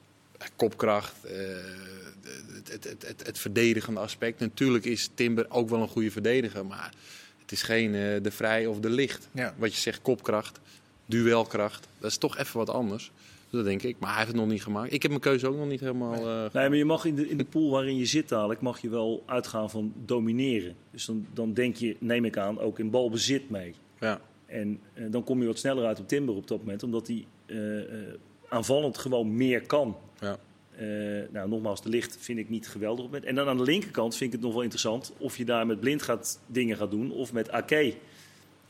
S3: kopkracht, eh, het, het, het, het, het verdedigende aspect. Natuurlijk is Timber ook wel een goede verdediger, maar het is geen eh, de vrij of de licht.
S1: Ja.
S3: Wat je zegt, kopkracht, duelkracht, dat is toch even wat anders. Dat denk ik, maar hij heeft het nog niet gemaakt. Ik heb mijn keuze ook nog niet helemaal. eh,
S2: Nee, maar je mag in de, in de pool waarin je zit dadelijk, mag je wel uitgaan van domineren. Dus dan, dan denk je, neem ik aan, ook in balbezit mee.
S3: ja.
S2: En eh, dan kom je wat sneller uit op Timber op dat moment, omdat hij eh, eh, aanvallend gewoon meer kan.
S3: Ja.
S2: Eh, nou, nogmaals, de licht vind ik niet geweldig op het moment. En dan aan de linkerkant vind ik het nog wel interessant of je daar met blind gaat dingen gaat doen of met Ake.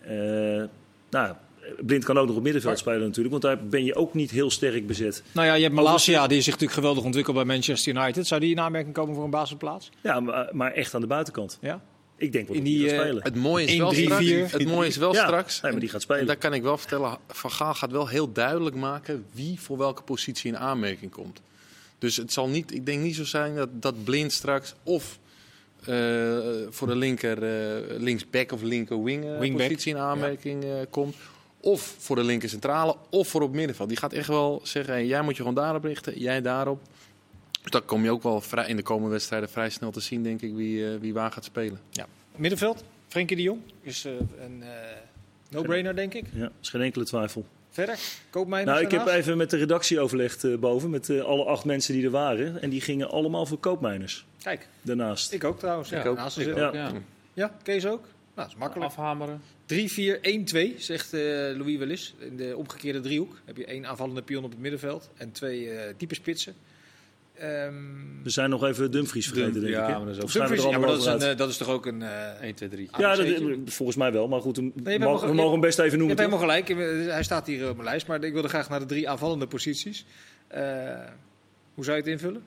S2: Eh, nou, blind kan ook nog op middenveld spelen natuurlijk, want daar ben je ook niet heel sterk bezet.
S1: Nou ja, je hebt Malasia, die zich natuurlijk geweldig ontwikkeld bij Manchester United. Zou die in aanmerking komen voor een basisplaats?
S2: Ja, maar, eh, maar echt aan de buitenkant.
S1: Ja?
S2: Ik denk wel
S1: In
S2: dat die,
S1: die,
S2: gaat
S1: eh,
S2: spelen.
S3: Het mooie is
S1: 1,
S3: wel
S1: 3,
S3: straks.
S1: 4.
S3: Het mooie is wel
S2: Ja,
S3: straks.
S2: nee, maar die gaat spelen.
S3: En daar kan ik wel vertellen. Van Gaal gaat wel heel duidelijk maken wie voor welke positie in aanmerking komt. Dus het zal niet, ik denk niet zo zijn dat, dat Blind straks of eh, voor de linker eh, linksback of linker wing eh,
S1: Wingback,
S3: positie in aanmerking eh, komt. Of voor de linker centrale of voor op middenveld. Die gaat echt wel zeggen, hey, jij moet je gewoon daarop richten, jij daarop. Dus dat kom je ook wel vrij, in de komende wedstrijden vrij snel te zien, denk ik, wie, eh, wie waar gaat spelen.
S1: Middenveld, Frenkie de Jong. Is eh, een eh, no-brainer, denk ik.
S2: Ja, is geen enkele twijfel.
S1: Verder, Koopmeiners
S2: Nou, ik heb
S1: daarnaast?
S2: even met de redactie overlegd eh, boven, met eh, alle acht mensen die er waren. En die gingen allemaal voor koopmijners
S1: Kijk,
S2: daarnaast.
S1: ik ook trouwens. Ja,
S3: Ik ook.
S1: naast
S3: Ik
S1: gezet.
S2: eh, Ja.
S4: Ja.
S1: ja, Kees ook. Nou, dat is makkelijk.
S4: Afhameren.
S1: 3-4-1-2, zegt eh, Louis Willis. In de omgekeerde driehoek heb je één aanvallende pion op het middenveld en twee eh, diepe spitsen. Ehm
S2: We zijn nog even Dumfries vergeten,
S4: Dum-
S2: denk
S4: ja,
S2: ik.
S4: maar dat is
S2: Of
S4: ook-
S2: zijn Dus we er
S1: Dumfries, ja, maar
S2: allemaal
S1: dat is,
S2: over
S1: een,
S2: uit?
S1: eh, dat is toch ook een. eh,
S4: 1, 2, 3.
S2: Ja,
S1: AMC'tje.
S2: dat- eh, volgens mij wel. Maar goed, hem-
S1: bent
S2: mag-
S1: wel-
S2: we mogen hem best even
S1: je
S2: noemen.
S1: hebt helemaal
S2: toch?
S1: gelijk. Eh, Hij staat hier op mijn lijst, maar ik wilde graag naar de drie aanvallende posities. Eh, hoe zou je het invullen?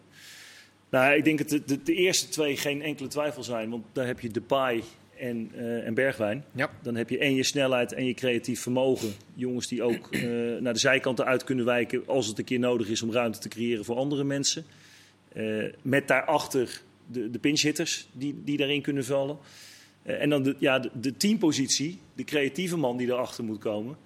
S2: Nou, ik denk dat de, de, de eerste twee geen enkele twijfel zijn. Want daar heb je Depay en, eh, en Bergwijn.
S1: Ja.
S2: Dan heb je en je snelheid en je creatief vermogen. Jongens die ook eh, naar de zijkanten uit kunnen wijken als het een keer nodig is om ruimte te creëren voor andere mensen. Eh, met daarachter de, de pinchhitters die, die daarin kunnen vallen. Eh, en dan de, ja, de, de teampositie, de creatieve man die erachter moet komen.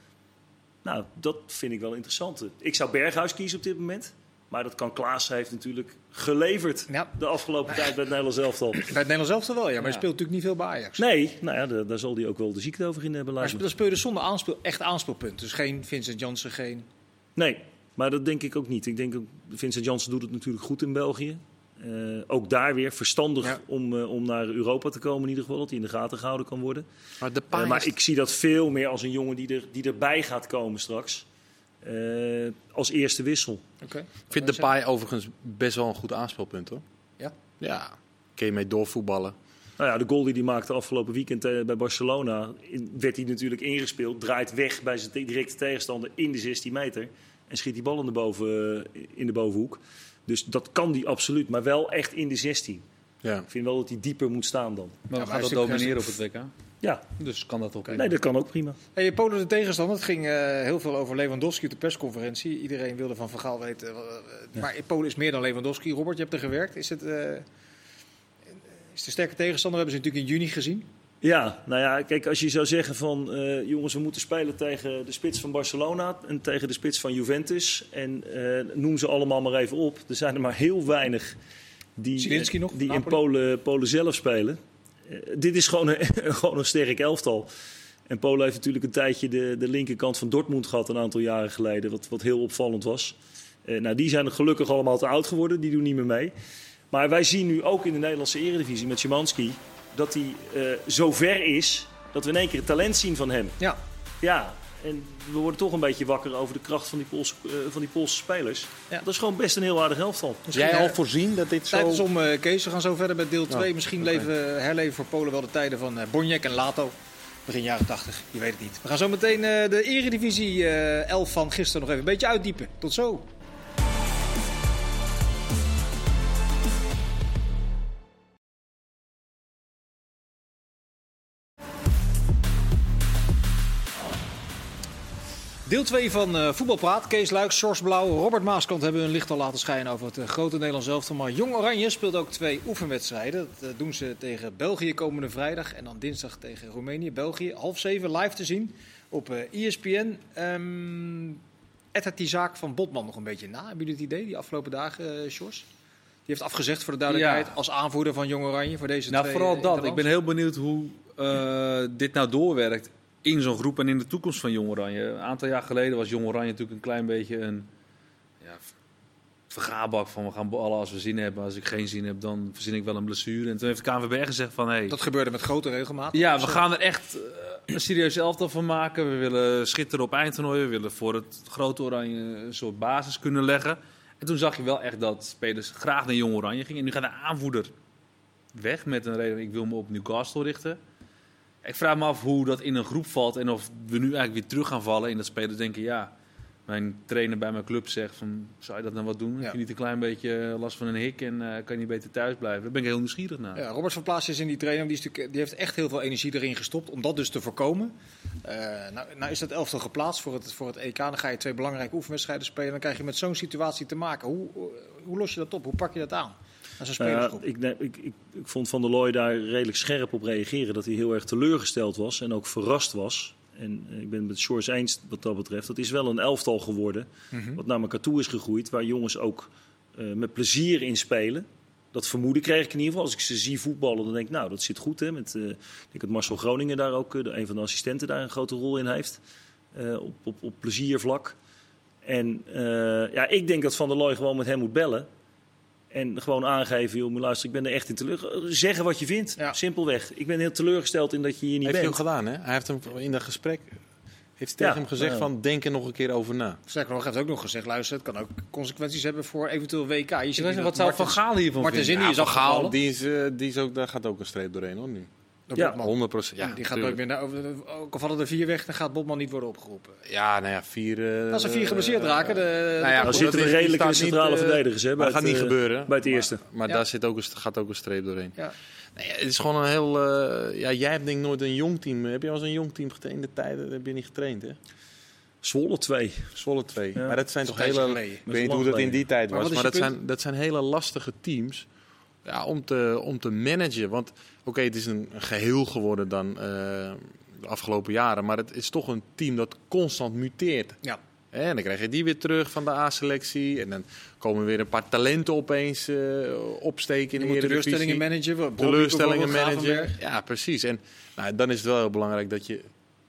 S2: Nou, dat vind ik wel interessant. Ik zou Berghuis kiezen op dit moment. Maar dat kan Klaas heeft natuurlijk geleverd
S1: Ja.
S2: de afgelopen tijd bij het Nederlands elftal.
S1: Nou, Bij het Nederlands elftal wel, ja. Maar je
S2: Ja.
S1: speelt natuurlijk niet veel bij Ajax.
S2: Nee, nou ja, daar, daar zal hij ook wel de ziekte over in eh, hebben
S1: Maar
S2: lijkt me.
S1: spe- dan speel je dus zonder aanspeel, echt aanspeelpunt. Dus geen Vincent Janssen, geen...
S2: Nee, maar dat denk ik ook niet. Ik denk ook, Vincent Janssen doet het natuurlijk goed in België. Eh, ook daar weer verstandig
S1: Ja.
S2: om, eh, om naar Europa te komen in ieder geval. Dat hij in de gaten gehouden kan worden.
S3: Maar de
S2: Eh, maar ik zie dat veel meer als een jongen die, er, die erbij gaat komen straks. Eh, als eerste wissel.
S1: Oké.
S3: Ik vind Depay overigens best wel een goed aanspelpunt hoor.
S1: Ja?
S3: Ja. Kun je mee doorvoetballen.
S2: Nou ja, de goal die hij maakte afgelopen weekend eh, bij Barcelona... in- werd hij natuurlijk ingespeeld. Draait weg bij zijn te- directe tegenstander in de 16 meter. En schiet die bal in de, boven, eh, in de bovenhoek. Dus dat kan hij absoluut. Maar wel echt in de 16.
S3: Ja.
S2: Ik vind wel dat hij dieper moet staan dan.
S4: Maar we
S1: hij
S4: gaan
S1: is
S4: dat
S1: natuurlijk-
S4: domineren op het WK.
S2: Ja,
S4: Dus kan dat ook.
S2: nee, dat kan ook prima.
S1: Hey, Polen de tegenstander. Het ging eh, heel veel over Lewandowski op de persconferentie. Iedereen wilde van Van Gaal weten. eh, eh, Maar Polen is meer dan Lewandowski. Robert, je hebt er gewerkt. Is het... eh, is de sterke tegenstander hebben ze natuurlijk in juni gezien.
S2: Ja, nou ja, kijk, als je zou zeggen van... eh, jongens, we moeten spelen tegen de spits van Barcelona... en tegen de spits van Juventus. En eh, noem ze allemaal maar even op. Er zijn er maar heel weinig die,
S1: Zielinski
S2: eh,
S1: nog,
S2: die in
S1: Napoli?
S2: Polen, Polen zelf spelen. Eh, dit is gewoon een, gewoon een sterk elftal. En Polen heeft natuurlijk een tijdje de, de linkerkant van Dortmund gehad... een aantal jaren geleden, wat, wat heel opvallend was. Eh, nou, die zijn gelukkig allemaal te oud geworden. Die doen niet meer mee. Maar wij zien nu ook in de Nederlandse eredivisie met Szymanski... dat hij eh, zo ver is dat we in één keer het talent zien van hem.
S1: Ja,
S2: Ja, en we worden toch een beetje wakker over de kracht van die Poolse, eh, van die Poolse spelers.
S1: Ja.
S2: Dat is gewoon best een heel aardig elftal.
S1: Misschien,
S3: Jij
S1: eh,
S3: al voorzien dat dit
S1: tijd is
S3: zo...
S1: om eh, Kees. We gaan zo verder met deel 2. Misschien
S3: oké.
S1: leven, herleven voor Polen wel de tijden van eh Bonjek en Lato. Begin jaren 80, je weet het niet. We gaan zo meteen eh, de Eredivisie eh 11 van gisteren nog even een beetje uitdiepen. Tot zo. Deel 2 van eh Voetbalpraat. Kees Luijks, Sjors Blauw, Robert Maaskant hebben hun licht al laten schijnen over het eh, grote Nederlands elftal. Maar Jong Oranje speelt ook twee oefenwedstrijden. Dat eh, doen ze tegen België komende vrijdag en dan dinsdag tegen Roemenië. België, half zeven, live te zien op eh ESPN. Ehm Ed had die zaak van Botman nog een beetje na. Hebben jullie het idee, die afgelopen dagen, eh Sjors? Die heeft afgezegd voor de duidelijkheid
S4: Ja.
S1: als aanvoerder van Jong Oranje voor deze
S4: Nou,
S1: twee
S4: vooral
S1: eh,
S4: dat. Ik
S1: interlands.
S4: ben heel benieuwd hoe eh, dit nou doorwerkt in zo'n groep en in de toekomst van Jong Oranje. Een aantal jaar geleden was Jong Oranje natuurlijk een klein beetje een ja, v- vergaarbak van we gaan ballen als we zin hebben. Als ik geen zin heb, dan verzin ik wel een blessure. En toen heeft de KNVB gezegd van... Hey,
S1: Dat gebeurde met grote regelmaat.
S4: ja, we gaan er echt eh, een serieus elftal van maken. We willen schitteren op eindtoernooi. We willen voor het grote Oranje een soort basis kunnen leggen. En toen zag je wel echt dat spelers graag naar Jong Oranje gingen. En nu gaat de aanvoerder weg met een reden. Ik wil me op Newcastle richten. Ik vraag me af hoe dat in een groep valt. En of we nu eigenlijk weer terug gaan vallen in dat spelers denken... ja, mijn trainer bij mijn club zegt van... zou je dat nou wat doen?
S1: Ja.
S4: Heb je niet een klein beetje last van een hik en eh, kan je niet beter thuis blijven? Daar ben ik heel nieuwsgierig naar.
S1: Ja, Robert Verplaatst is in die trainer. Die, is natuurlijk- die heeft echt heel veel energie erin gestopt om dat dus te voorkomen. Eh, nou, nou is dat elftal geplaatst voor het, voor het EK. Dan ga je twee belangrijke oefenwedstrijden spelen. Dan krijg je met zo'n situatie te maken. Hoe, hoe- hoe los je dat op? Hoe pak je dat aan? Als een spelersgroep.
S2: Nou ja, ik, neem- ik, ik, ik vond Van der Looy daar redelijk scherp op reageren. Dat hij heel erg teleurgesteld was en ook verrast was. En eh, ik ben het met Shores eens wat dat betreft. Dat is wel een elftal geworden.
S1: Mhm.
S2: Wat naar elkaar toe is gegroeid. Waar jongens ook eh, met plezier in spelen. Dat vermoeden kreeg ik in ieder geval. Als ik ze zie voetballen, dan denk ik, nou, dat zit goed. Hè? Met, eh, ik denk dat Marcel Groningen daar ook, eh, de- een van de assistenten, daar een grote rol in heeft. eh, op, op, op pleziervlak. En eh, ja, ik denk dat Van der Looy gewoon met hem moet bellen. En gewoon aangeven, joh, maar luister, ik ben er echt in teleurgesteld. Zeggen wat je vindt,
S1: Ja.
S2: simpelweg. Ik ben heel teleurgesteld in dat je hier niet
S3: Heeft hij ook
S2: bent.
S3: gedaan hè? Hij heeft hem in dat gesprek... Heeft hij
S2: Ja,
S3: tegen hem gezegd
S2: ja.
S3: van denk er nog een keer over na.
S1: Sterker nog, hij heeft ook nog gezegd: luister, het kan ook consequenties hebben voor eventueel WK. Je ziet
S4: Ik
S1: nu
S4: weet niet,
S1: dat
S4: wat zou Van
S1: Martens-
S4: Gaal hiervan
S1: Martens
S4: vinden?
S1: Indy is afgehaald.
S3: die, is, eh, die is ook, daar gaat ook een streep doorheen hoor nu.
S1: door
S2: Ja.
S1: Botman.
S3: 100 procent. Ja,
S1: die gaat nooit meer naar. Ook al vallen er vier weg, dan gaat Botman niet worden opgeroepen.
S3: Ja, nou ja, vier... eh,
S1: Als er vier geblesseerd
S3: eh,
S1: raken, de,
S3: nou ja,
S2: Dan
S3: goed,
S2: zitten
S3: dat
S2: we
S3: is-
S2: redelijk in de
S3: staat niet,
S2: centrale
S3: eh,
S2: verdedigers. Hè, bij
S3: Maar dat gaat
S2: het,
S3: niet
S2: eh,
S3: gebeuren.
S2: Bij het eerste.
S3: Maar
S1: Ja.
S3: daar zit ook, een- gaat ook een streep doorheen.
S1: ja.
S3: Nee, het is gewoon een heel. eh, ja, jij hebt denk ik nooit een jong team. Heb je wel eens een jong team getraind? In de tijden heb je niet getraind, hè?
S2: Zwolle 2.
S3: Zwolle 2.
S2: Ja.
S3: Maar dat zijn
S1: Dat
S3: toch
S1: is een
S3: hele.
S1: tijdje geleden.
S3: Ik weet niet hoe
S2: Dat is
S3: dat
S2: lang
S3: in die tijd
S1: Maar
S3: was.
S1: wat is
S3: Maar
S1: je
S3: dat
S1: punt?
S3: zijn, dat zijn hele lastige teams. Ja, om te, om te managen. Want oké, het is een een geheel geworden dan eh, de afgelopen jaren. Maar het is toch een team dat constant muteert.
S1: Ja.
S3: Hè, En dan krijg je die weer terug van de A-selectie. En dan komen weer een paar talenten opeens eh, opsteken
S1: Je
S3: in de
S1: moet
S3: Eredivisie.
S1: teleurstellingen managen. Brobbey
S3: teleurstellingen
S1: bijvoorbeeld,
S3: managen.
S1: Gravenberg.
S3: Ja, precies. En nou, dan is het wel heel belangrijk dat je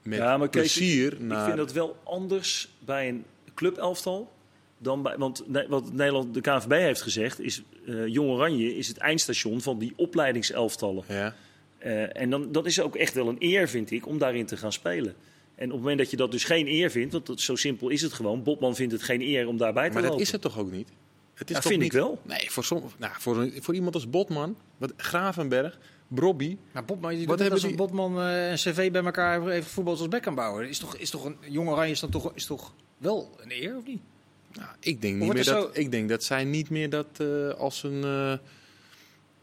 S3: met
S2: Ja, maar Kees,
S3: plezier naar...
S2: Ik vind dat wel anders bij een clubelftal dan bij. Want ne- wat Nederland, de KNVB heeft gezegd, is eh Jong Oranje is het eindstation van die opleidingselftallen.
S3: Ja,
S2: Eh, en dan, dat is ook echt wel een eer, vind ik, om daarin te gaan spelen. En op het moment dat je dat dus geen eer vindt, want dat, zo simpel is het gewoon. Botman vindt het geen eer om daarbij te
S3: maar dat
S2: lopen.
S3: is het toch ook niet? Het is
S2: Ja,
S3: toch
S2: vind
S3: niet...
S2: ik wel.
S3: Nee, voor, som... nou, voor, een- voor iemand als Botman, wat, Gravenberg, Brobby...
S1: Nou, Maar Botman, je
S3: Wat
S1: doet net als
S3: hebben
S1: een Botman eh, een cv bij elkaar heeft- heeft voetbal als Beckham bouwen. Is toch, is toch een jong oranje is dan toch, is toch wel een eer of niet?
S3: Nou, ik, denk niet
S1: Wordt
S3: meer
S1: er
S3: dat, ik denk dat zij niet meer dat eh, als een eh,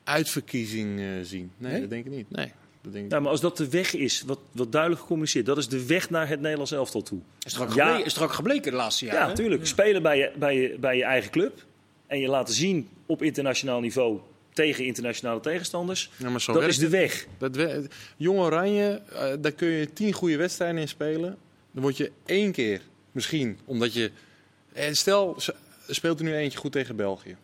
S3: uitverkiezing eh, zien. Nee,
S1: Nee?
S3: dat denk ik niet. Nee, dat denk ik
S2: Ja, maar als dat de weg is, wat, wat duidelijk gecommuniceerd, dat is de weg naar het Nederlands elftal toe.
S1: Is toch ook
S2: Ja.
S1: gebleken, is toch ook gebleken de laatste jaren?
S2: Ja, natuurlijk. Spelen bij je, bij, je, bij je eigen club. En je laten zien op internationaal niveau tegen internationale tegenstanders.
S3: Ja, maar zo
S2: dat
S3: werkt
S2: is de weg.
S3: Dat we- Jong Oranje, eh, daar kun je tien goede wedstrijden in spelen. Dan word je één keer misschien, omdat je... eh, Stel, ze- speelt er nu eentje goed tegen België.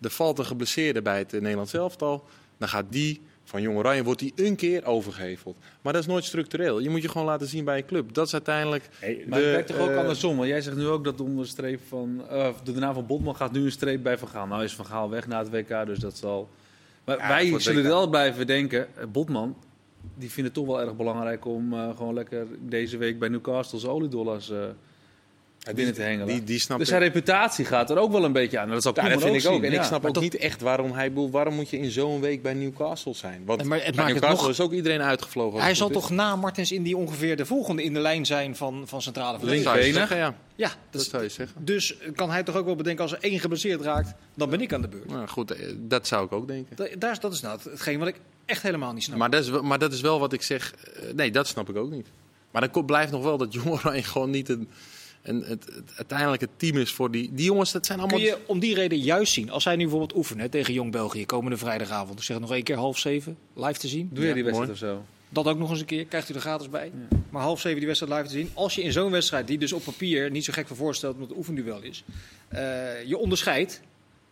S3: Er valt een geblesseerde bij het eh, Nederlands elftal. Dan gaat die van Jong Oranje, wordt die een keer overgeheveld. Maar dat is nooit structureel. Je moet je gewoon laten zien bij je club. Dat is uiteindelijk...
S2: Hey,
S4: Maar
S3: de,
S4: het werkt toch ook
S3: eh,
S4: andersom? Want jij zegt nu ook dat onder de, streep van, eh, of de naam van Botman gaat nu een streep bij Van Gaal. Nou is Van Gaal weg na het WK, dus dat zal... Maar
S3: Ja, voor
S4: wij
S3: het
S4: zullen
S3: WK.
S4: wel blijven denken, eh, Botman, die vindt het toch wel erg belangrijk om eh, gewoon lekker deze week bij Newcastle zijn oliedollars eh binnen te hengelen.
S3: Die, die snapt
S4: dus zijn reputatie gaat er ook wel een beetje aan. En dat zou
S3: Ja,
S4: Koeman
S3: dat vind ik ook.
S4: zien,
S3: En
S4: ja.
S3: ik snap
S4: Maar
S3: ook
S4: toch-
S3: niet echt waarom hij... bedoel, Waarom moet je in zo'n week bij Newcastle zijn? Want
S1: Nee, maar het
S3: bij
S1: maakt het
S3: Newcastle
S1: nog-
S3: is ook iedereen uitgevlogen. als
S1: Hij
S3: het
S1: zal
S3: goed is.
S1: toch na Martens in die ongeveer de volgende in de lijn zijn van, van centrale
S3: Dat
S1: verdediger.
S3: zou je
S4: Linkbenig.
S3: zeggen, ja.
S1: Ja, dat
S3: Dat
S1: is-
S3: zou je zeggen.
S1: dus kan hij toch ook wel bedenken als er één geblesseerd raakt, dan ben ik aan de beurt.
S3: Nou, goed, eh, dat zou ik ook denken.
S1: Da- Daar, is- dat is nou hetgeen wat ik echt helemaal niet snap.
S3: Maar dat, is, wel- maar dat is wel wat ik zeg. eh, Nee, dat snap ik ook niet. Maar dan ko- blijft nog wel dat Jong Oranje gewoon niet een, een, het, het uiteindelijk het team is voor die... Die jongens, dat zijn allemaal...
S1: Kun je om die reden juist zien, als zij nu bijvoorbeeld oefenen hè, tegen Jong België komende vrijdagavond, ik zeg het nog één keer half zeven, live te zien.
S4: Doe je die
S3: Ja,
S4: wedstrijd of zo?
S1: Dat ook nog eens een keer, krijgt u er gratis bij. Maar half zeven die wedstrijd live te zien. Als je in zo'n wedstrijd, die dus op papier niet zo gek van voorstelt omdat het een oefenduel is, eh, je onderscheidt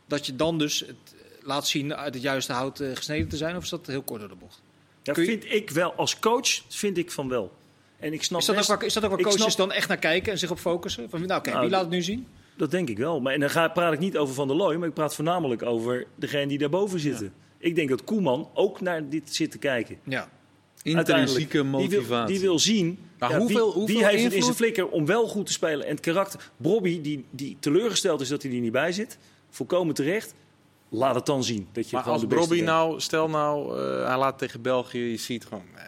S1: dat je dan dus het eh, laat zien uit het juiste hout eh, gesneden te zijn, of is dat heel kort door de bocht?
S2: Dat
S1: kun je-
S2: vind ik wel. Als coach vind ik van wel. En ik snap
S1: Is dat, ook
S2: best-
S1: waar, is dat ook waar
S2: ik
S1: coaches
S2: snap-
S1: dan echt naar kijken en zich op focussen? Van, nou oké,
S2: Nou,
S1: wie
S2: dat-
S1: laat het nu zien?
S2: Dat denk ik wel. Maar, en dan ga, praat ik niet over Van der Looy, maar ik praat voornamelijk over degene die daarboven zitten. Ik denk dat Koeman ook naar dit zit te kijken.
S1: Ja.
S2: Uiteindelijk.
S4: Intrinsieke
S2: Die wil,
S4: motivatie.
S2: die wil zien
S3: Maar
S2: ja,
S3: hoeveel-
S2: wie,
S3: hoeveel
S2: wie heeft het in
S3: invloed?
S2: zijn flikker om wel goed te spelen. En het karakter. Bobby, die, die teleurgesteld is dat hij er niet bij zit, volkomen terecht. Laat het dan zien. Dat je
S3: Maar
S2: gewoon de
S3: als
S2: beste
S3: Robbie
S2: bent.
S3: nou... Stel nou, eh, hij laat tegen België. Je ziet gewoon... eh,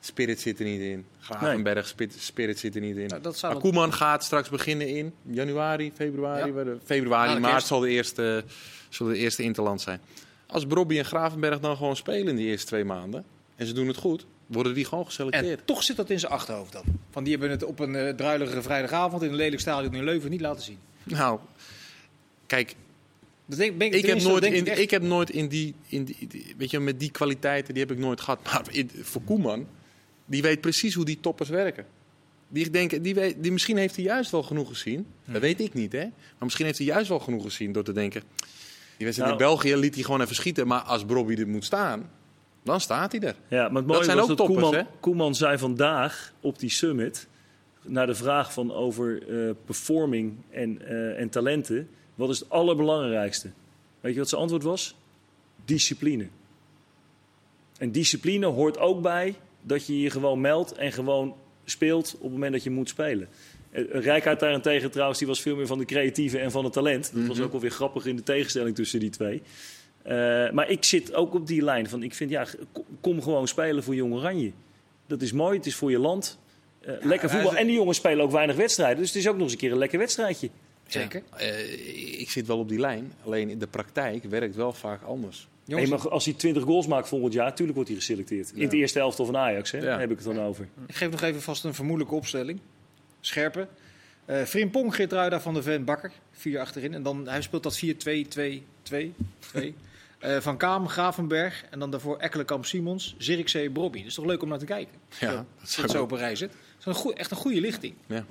S3: Spirit zit er niet in. Gravenberg, Spirit, Spirit zit er niet in.
S1: Nou, dat zou
S3: Maar
S1: dan-
S3: Koeman gaat straks beginnen in januari, februari.
S1: Ja.
S3: waar de- Februari,
S1: Na de
S3: maart
S1: kerst.
S3: zal de eerste, zal de eerste interland zijn. Als Brobby en Gravenberg dan gewoon spelen in die eerste twee maanden... en ze doen het goed, worden die gewoon geselecteerd.
S1: En toch zit dat in zijn achterhoofd dan. Van die hebben het op een eh, druilige vrijdagavond in een lelijk stadion in Leuven niet laten zien.
S3: Nou, kijk,
S1: Dat denk, ben ik,
S3: ik heb,
S1: tenminste, dat
S3: nooit
S1: denk
S3: in,
S1: ik,
S3: ik,
S1: echt.
S3: heb nooit in die, in die, die- Weet je, met die kwaliteiten, die heb ik nooit gehad. Maar in- voor Koeman, die weet precies hoe die toppers werken. Die denken, die weet, die, misschien heeft hij juist wel genoeg gezien. Dat weet ik niet, hè. Maar misschien heeft hij juist wel genoeg gezien door te denken... Die wedstrijd in
S2: Nou.
S3: België liet hij gewoon even schieten. Maar als Bobby er moet staan, dan staat hij er.
S2: Ja, maar het mooie
S3: Dat zijn
S2: was
S3: ook
S2: dat
S3: toppers,
S2: Koeman,
S3: hè?
S2: Koeman zei vandaag op die summit... naar de vraag van over eh, performing en, eh, en talenten... wat is het allerbelangrijkste? Weet je wat zijn antwoord was? Discipline. En discipline hoort ook bij dat je je gewoon meldt... en gewoon speelt op het moment dat je moet spelen. Eh, Rijkaard daarentegen trouwens, die was veel meer van de creatieve en van het talent. Dat
S3: Mhm.
S2: was ook wel weer grappig in de tegenstelling tussen die twee. Eh, maar ik zit ook op die lijn van ik vind ja, kom- kom gewoon spelen voor Jong Oranje. Dat is mooi, het is voor je land. Eh, lekker voetbal. En die jongens spelen ook weinig wedstrijden. Dus het is ook nog eens een keer een lekker wedstrijdje.
S1: Zeker.
S3: Ja, eh, ik zit wel op die lijn. Alleen in de praktijk werkt wel vaak anders.
S1: Jongens,
S2: Nee, maar als hij 20 goals maakt volgend jaar, tuurlijk wordt hij geselecteerd. In het eerste elftal van Ajax, hè?
S3: Ja.
S2: daar heb ik het dan over.
S1: Ik geef nog even vast een vermoedelijke opstelling. Scherpen. Eh Frimpong, Geertruida van de Ven, Bakker. Vier achterin. En dan, hij speelt dat 4-2-2-2. 2. Eh, van Kaam, Gravenberg en dan daarvoor Ekkelenkamp, Simons, Zirkzee, Brobby. Dat is toch leuk om naar te kijken,
S3: Ja, dat
S1: als je het zo op een rij zit. Dat is een goe- echt een goede lichting.
S3: Ja.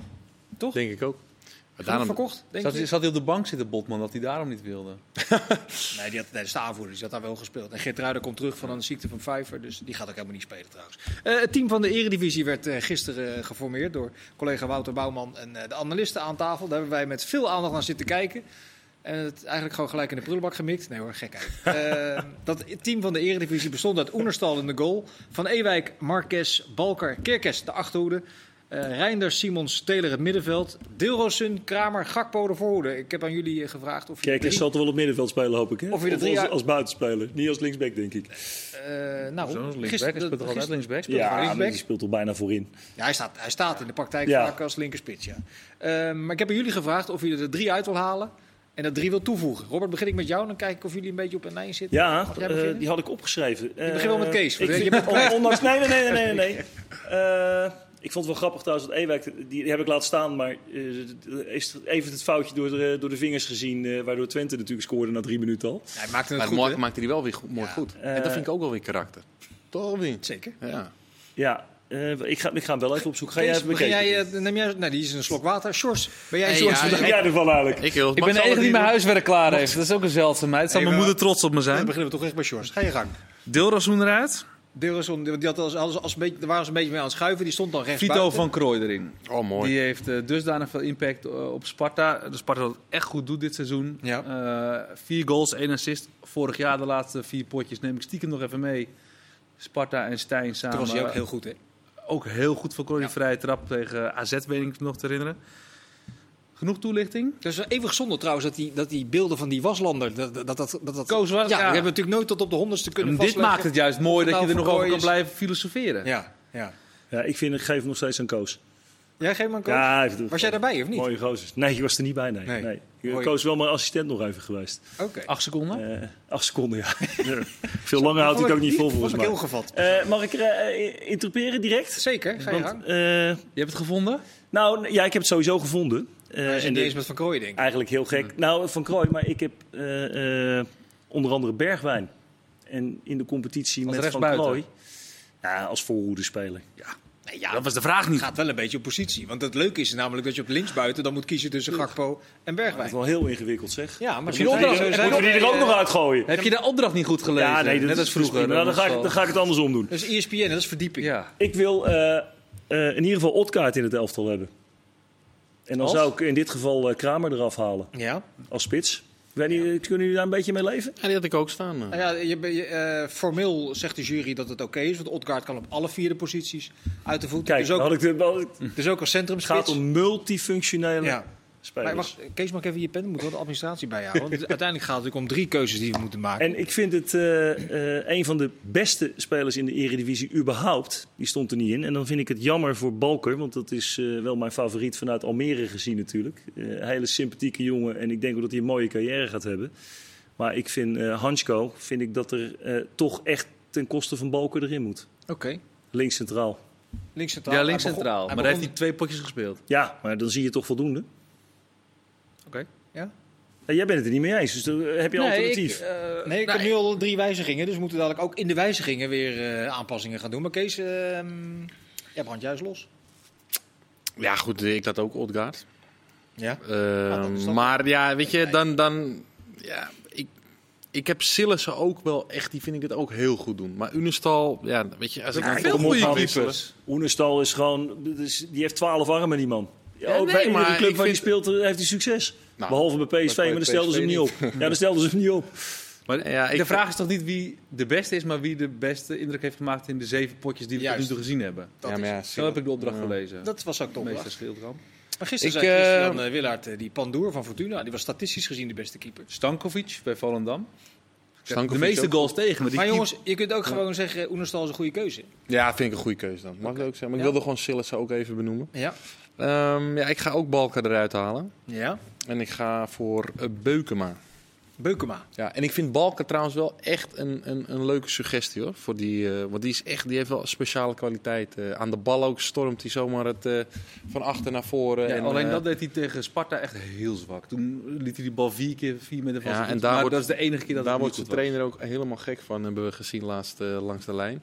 S1: Toch?
S3: denk ik ook. Maar
S1: Genoeg
S3: daarom-
S1: verkocht, denk
S4: Zat,
S1: je?
S4: zat hij op de bank zitten, Botman, dat hij daarom niet wilde?
S1: Nee, die had, nee, de aanvoerder, die had daar wel gespeeld. En Geert Ruijder komt terug van een ziekte van Vijver, dus die gaat ook helemaal niet spelen trouwens. Eh, het team van de Eredivisie werd eh, gisteren eh, geformeerd door collega Wouter Bouwman en eh, de analisten aan tafel. Daar hebben wij met veel aandacht naar zitten kijken. En het eigenlijk gewoon gelijk in de prullenbak gemikt. Nee hoor, gekheid. Eh, dat team van de Eredivisie bestond uit Oenerstal in de goal. Van Ewijk, Marquez, Balker, Kerkes de achterhoede. Eh Reinders, Simons, Teler het middenveld. Deelrosun, Kramer, Gakpo de voorhoede. Ik heb aan jullie eh, gevraagd of jullie
S2: Kijk, hij
S1: drie-
S2: zal toch wel op middenveld spelen, hoop ik. Hè?
S1: Of je de drie
S2: als,
S1: jaar-
S2: als buitenspeler, niet als linksback, denk ik.
S1: Eh, nou,
S4: Zo'n linksback, hij
S1: gisteren-
S4: speelt toch altijd
S1: gisteren-
S4: linksback?
S1: speelt hij
S2: Ja, maar die
S1: linksback?
S2: speelt toch bijna voorin.
S1: Ja, hij staat, hij staat in de praktijk
S2: Ja.
S1: vaak als linkerspits, ja. Eh, maar ik heb aan jullie gevraagd of jullie er drie uit wil halen en er drie wil toevoegen. Robert, begin ik met jou, dan kijk ik of jullie een beetje op een lijn zitten.
S2: Ja,
S1: Mag jij
S2: eh,
S1: beginnen?
S2: die had ik opgeschreven. Eh, Ik
S1: begint wel met Kees, want je bent
S2: ondanks, nee, nee, nee, nee, nee. nee. Eh, ik vond het wel grappig trouwens dat Ewijk, die, die heb ik laten staan, maar eh, is even het foutje door de, door de vingers gezien, eh, waardoor Twente natuurlijk scoorde na drie minuten al.
S1: Hij maakte het
S3: Maar
S1: goed,
S3: mooi-
S1: hè?
S3: maakte hij wel weer goed, mooi
S1: Ja.
S3: goed. En dat vind ik ook wel weer karakter. Toch of niet?
S1: Zeker.
S3: Ja.
S2: Ja, eh, ik, ga, ik ga hem wel even op zoek. Ga jij
S1: Kees,
S2: even
S1: begin
S2: bekijken?
S1: jij, eh, neem jij, nou, die is een slok water. Sjors, ben jij
S3: Hey,
S1: Sjors?
S3: ja,
S1: vandaag?
S2: Wat jij ervan eigenlijk?
S3: Ik, wil,
S4: Ik ben de enige die mijn huiswerk klaar heeft. Dat is ook een zeldzaamheid. Zou mijn
S1: Even-
S4: moeder trots op me
S1: Dan
S4: zijn?
S1: beginnen we toch echt bij Sjors. Ga je gang.
S4: Deelrazoen eruit.
S1: Deelrison, die had als, als, als een beetje, daar waren ze een beetje mee aan het schuiven. Die stond dan rechts
S4: Vito
S1: buiten.
S4: van Krooi erin.
S3: Oh, mooi.
S4: Die heeft eh, dusdanig veel impact eh, op Sparta. De Sparta dat het echt goed doet dit seizoen.
S1: Ja.
S4: Eh, vier goals, één assist. Vorig jaar de laatste vier potjes neem ik stiekem nog even mee. Sparta en Stijn samen.
S1: Toen was hij ook heel goed, hè?
S4: Ook heel goed voor Krooi. die
S1: Ja.
S4: vrije trap tegen AZ, weet ik nog te herinneren. Genoeg toelichting.
S1: Het is wel even gezonder trouwens dat die, dat die beelden van die waslander. Dat dat, dat, dat, dat-
S4: Koos
S1: ja,
S4: was-
S1: die
S4: ja.
S1: hebben we natuurlijk nooit tot op de honderdste kunnen
S4: En dit
S1: vastleggen.
S4: maakt het juist mooi dat
S1: Nou,
S4: je er
S1: voor
S4: nog over
S1: Krooi
S4: kan
S1: is-
S4: blijven filosoferen.
S1: Ja, ja.
S2: Ja, ik, vind, ik geef hem nog steeds een koos.
S1: Jij geeft me een Koos?
S2: Ja, hij heeft het
S1: was jij daarbij of niet?
S2: Mooie gozers. Nee, ik was er niet bij, nee.
S1: Nee.
S2: nee. Eh,
S1: Mooi.
S2: Koos is wel mijn assistent nog even geweest.
S1: Oké.
S4: Acht seconden.
S2: Eh acht seconden, ja. Veel langer houdt hij het ook niet vol, volgens
S1: Vond ik
S2: mij.
S1: heel gevat.
S2: Eh, mag ik eh, eh, interpreteren direct?
S1: Zeker, ga je
S2: Want,
S1: gang.
S2: eh,
S4: Je hebt het gevonden?
S2: nou, ja, ik heb het sowieso gevonden. Eh,
S1: Hij is
S2: en
S1: niet
S2: de-
S1: eens met Van Krooijen, denk ik.
S2: Eigenlijk heel gek. Nou, Van Krooi, maar ik heb eh, eh, onder andere Bergwijn. En in de competitie
S4: Als
S2: met Van
S4: rechtsbuiten.
S2: Krooi. Ja, als voorhoede speler.
S1: Nee, ja,
S4: Dat was de vraag niet.
S1: het gaat wel een beetje op positie. Want het leuke is namelijk dat je op linksbuiten dan moet kiezen tussen Gakpo en
S2: Dat is
S1: Bergwijn. Dus
S2: wel heel ingewikkeld, zeg.
S1: Ja, maar
S2: Moeten we
S1: zo
S2: die er-
S1: zijn
S2: moeten we die er ook nog uitgooien?
S4: Heb je de opdracht niet goed gelezen?
S2: Ja, nee, dat
S4: eh, Net
S2: is
S4: als vroeger.
S2: prima. Nou, dan, ga ik, dan ga ik het andersom doen.
S1: Dat is ESPN, dat is verdieping.
S4: Ja.
S2: Ik wil eh, eh, in ieder geval Otkaart in het elftal hebben. En dan
S4: Als?
S2: zou ik in dit geval eh, Kramer eraf halen
S1: Ja.
S2: als spits. Ik Weet niet, eh, kunnen jullie daar een beetje mee leven?
S3: Ja, die had ik ook staan. eh.
S1: Nou ja, je, ben- je, eh, formeel zegt de jury dat het oké is. Want Odgaard kan op alle vierde posities uit de voet.
S2: Kijk,
S1: dus, ook,
S2: dan had ik de, wel- het
S1: dus ook als
S2: gaat
S1: centrumspits.
S2: om multifunctionele
S1: Ja.
S2: spelers.
S1: Maar wacht, Kees, mag ik even je pen? Dan moeten we de administratie bijhouden. Want het- uiteindelijk gaat het natuurlijk om drie keuzes die we moeten maken.
S2: En ik vind het eh, eh, een van de beste spelers in de Eredivisie überhaupt. Die stond er niet in. En dan vind ik het jammer voor Balker, want dat is eh, wel mijn favoriet vanuit Almere gezien natuurlijk. Eh hele sympathieke jongen en ik denk ook dat hij een mooie carrière gaat hebben. Maar ik vind eh Hansko, vind ik dat er eh, toch echt ten koste van Balker erin moet.
S1: Oké,
S2: Links centraal.
S1: links centraal.
S4: Ja,
S1: Hij
S4: links
S1: begon-
S4: centraal. Maar
S1: hij
S4: daar heeft
S1: begon-
S4: hij twee potjes gespeeld.
S2: Ja, maar dan zie je toch voldoende.
S4: Oké.
S1: Ja?
S2: Eh, jij bent het er niet mee eens, dus dan eh, heb je alternatief.
S3: eh,
S1: Nee,
S3: nou,
S1: ik heb nu al drie wijzigingen. Dus we moeten dadelijk ook in de wijzigingen weer eh, aanpassingen gaan doen. Maar Kees, ehm jij brandt juist los.
S3: Ja, goed, eh, ik had ook Odgaard.
S1: Ja.
S3: Eh,
S1: dat is dan-
S3: maar ja, weet je, dan... dan ja, ik, ik heb Sillissen ook wel echt, die vind ik het ook heel goed doen. Maar Unestal, ja, weet je... Als ik
S2: Ja,
S3: ik
S2: veel
S3: hem
S2: goede
S3: ophaal-
S2: keepers. Oenestal is gewoon, dat is- die heeft twaalf armen die man. Ja,
S3: Ja,
S2: ook
S3: nee,
S2: bij
S3: maar
S2: iedere
S3: ik
S2: club waar die
S3: vind-
S2: speelt eh, heeft hij succes.
S3: Nou,
S2: Behalve bij PSV,
S3: bij
S2: maar dan stelden ze hem
S3: PSV
S2: niet op. Ja, dan stelden ze hem niet op.
S4: Maar
S3: Ja, ik
S4: de vraag is toch niet wie de beste is, maar wie de beste indruk heeft gemaakt in de zeven potjes die we tot nu
S1: Juist.
S4: toe gezien hebben.
S1: Dat,
S3: ja, maar
S1: is-
S3: ja,
S4: Zo heb ik de opdracht
S3: Ja.
S4: gelezen.
S1: dat was ook toch
S4: meester ehm,
S1: wel.
S4: Schildkamp.
S1: Maar gisteren
S3: Ik,
S1: zei
S3: eh,
S1: Christian eh, Willaert, eh, die pandoer van Fortuna, die was statistisch gezien de beste keeper.
S4: Stankovic bij Volendam.
S3: Stankovic
S4: de meeste
S3: ook.
S4: goals tegen, maar die
S1: Maar
S4: keep-
S1: jongens, je kunt ook gewoon zeggen, Oenerstal is een goede keuze.
S3: Ja, vind ik een goede keuze dan. Mag ik ook zeggen. Maar
S1: Ja.
S3: ik wilde gewoon Sillissen ook even benoemen.
S1: Ja.
S3: Ehm, ja, ik ga ook Balken eruit halen.
S1: Ja.
S3: En ik ga voor eh, Beukema.
S1: Beukema.
S3: Ja, en ik vind Balken trouwens wel echt een, een, een leuke suggestie hoor. Voor die, eh, want die, is echt, die heeft wel speciale kwaliteit. eh. aan de bal ook stormt hij zomaar het, eh, van achter naar voren.
S4: Ja,
S3: en,
S4: alleen
S3: eh,
S4: dat deed hij tegen Sparta echt heel zwak. Toen liet hij die bal vier keer vier met de vaste
S3: Ja, en
S4: voet.
S3: daar
S4: maar
S3: wordt-
S4: dat is de enige keer dat
S3: Daar
S4: het
S3: wordt
S4: niet
S3: de
S4: goed was.
S3: trainer ook helemaal gek van, hebben we gezien laatst eh, langs de lijn.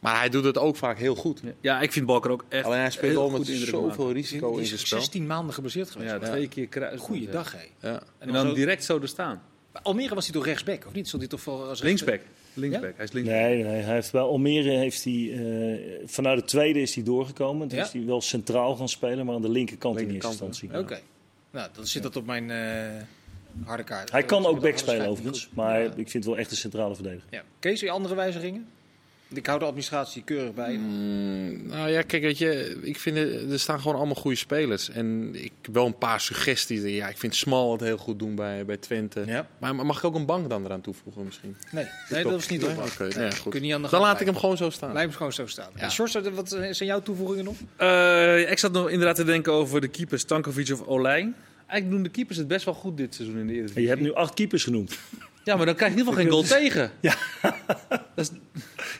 S3: Maar hij doet het ook vaak heel goed.
S4: Ja, ik vind Balker ook echt
S3: Alleen hij speelt
S4: heel
S3: al
S4: goed
S3: met
S4: indruk
S3: zoveel risico
S1: Die
S3: in
S1: is
S3: zijn spel.
S1: 16 maanden geblesseerd geweest.
S4: Ja, twee keer kruis.
S1: Goeiedag, hé.
S3: Ja.
S4: En dan,
S1: zo-
S4: direct zo er staan.
S1: Almere was hij toch rechtsback, of niet? Zat hij toch voor als
S4: Linksback. Linksback. Hij is linksback.
S2: Nee, nee, hij heeft bij Almere heeft hij, eh, vanuit de tweede is hij doorgekomen. Toen
S1: Ja?
S2: is hij wel centraal gaan spelen, maar aan de linkerkant,
S3: Linkerkant,
S2: in eerste instantie.
S1: Oké. Nou, dan zit dat op mijn eh, harde kaart.
S2: Hij kan
S1: Dat-
S2: ook
S1: dat
S2: back
S1: alles
S2: spelen
S1: schijnt
S2: overigens,
S1: niet goed.
S2: maar
S1: Ja.
S2: ik vind het wel echt een centrale verdediger.
S1: Ja. Kees, weer andere wijzigingen? Ik hou de administratie keurig bij.
S3: Mm, nou ja, kijk, weet je, ik vind eh, er staan gewoon allemaal goede spelers. En ik wel een paar suggesties. Ja, ik vind Smal het heel goed doen bij, bij Twente.
S1: Ja.
S3: Maar mag ik ook een bank dan eraan toevoegen misschien?
S1: Nee, nee dat is niet op.
S3: Nee? Oké, nou ja, goed.
S1: Kun je niet aan de
S3: Dan
S1: gang
S3: laat ik hem gewoon zo staan.
S1: Lijm gewoon zo staan.
S3: Ja.
S1: En Sjors, wat zijn jouw toevoegingen nog?
S4: Eh, ik zat nog inderdaad te denken over de keepers Stankovic of Olijn. Eigenlijk doen de keepers het best wel goed dit seizoen in de
S2: En
S4: Eredivisie.
S2: je hebt nu acht keepers genoemd.
S4: Ja, maar dan krijg je in ieder geval geen goal tegen.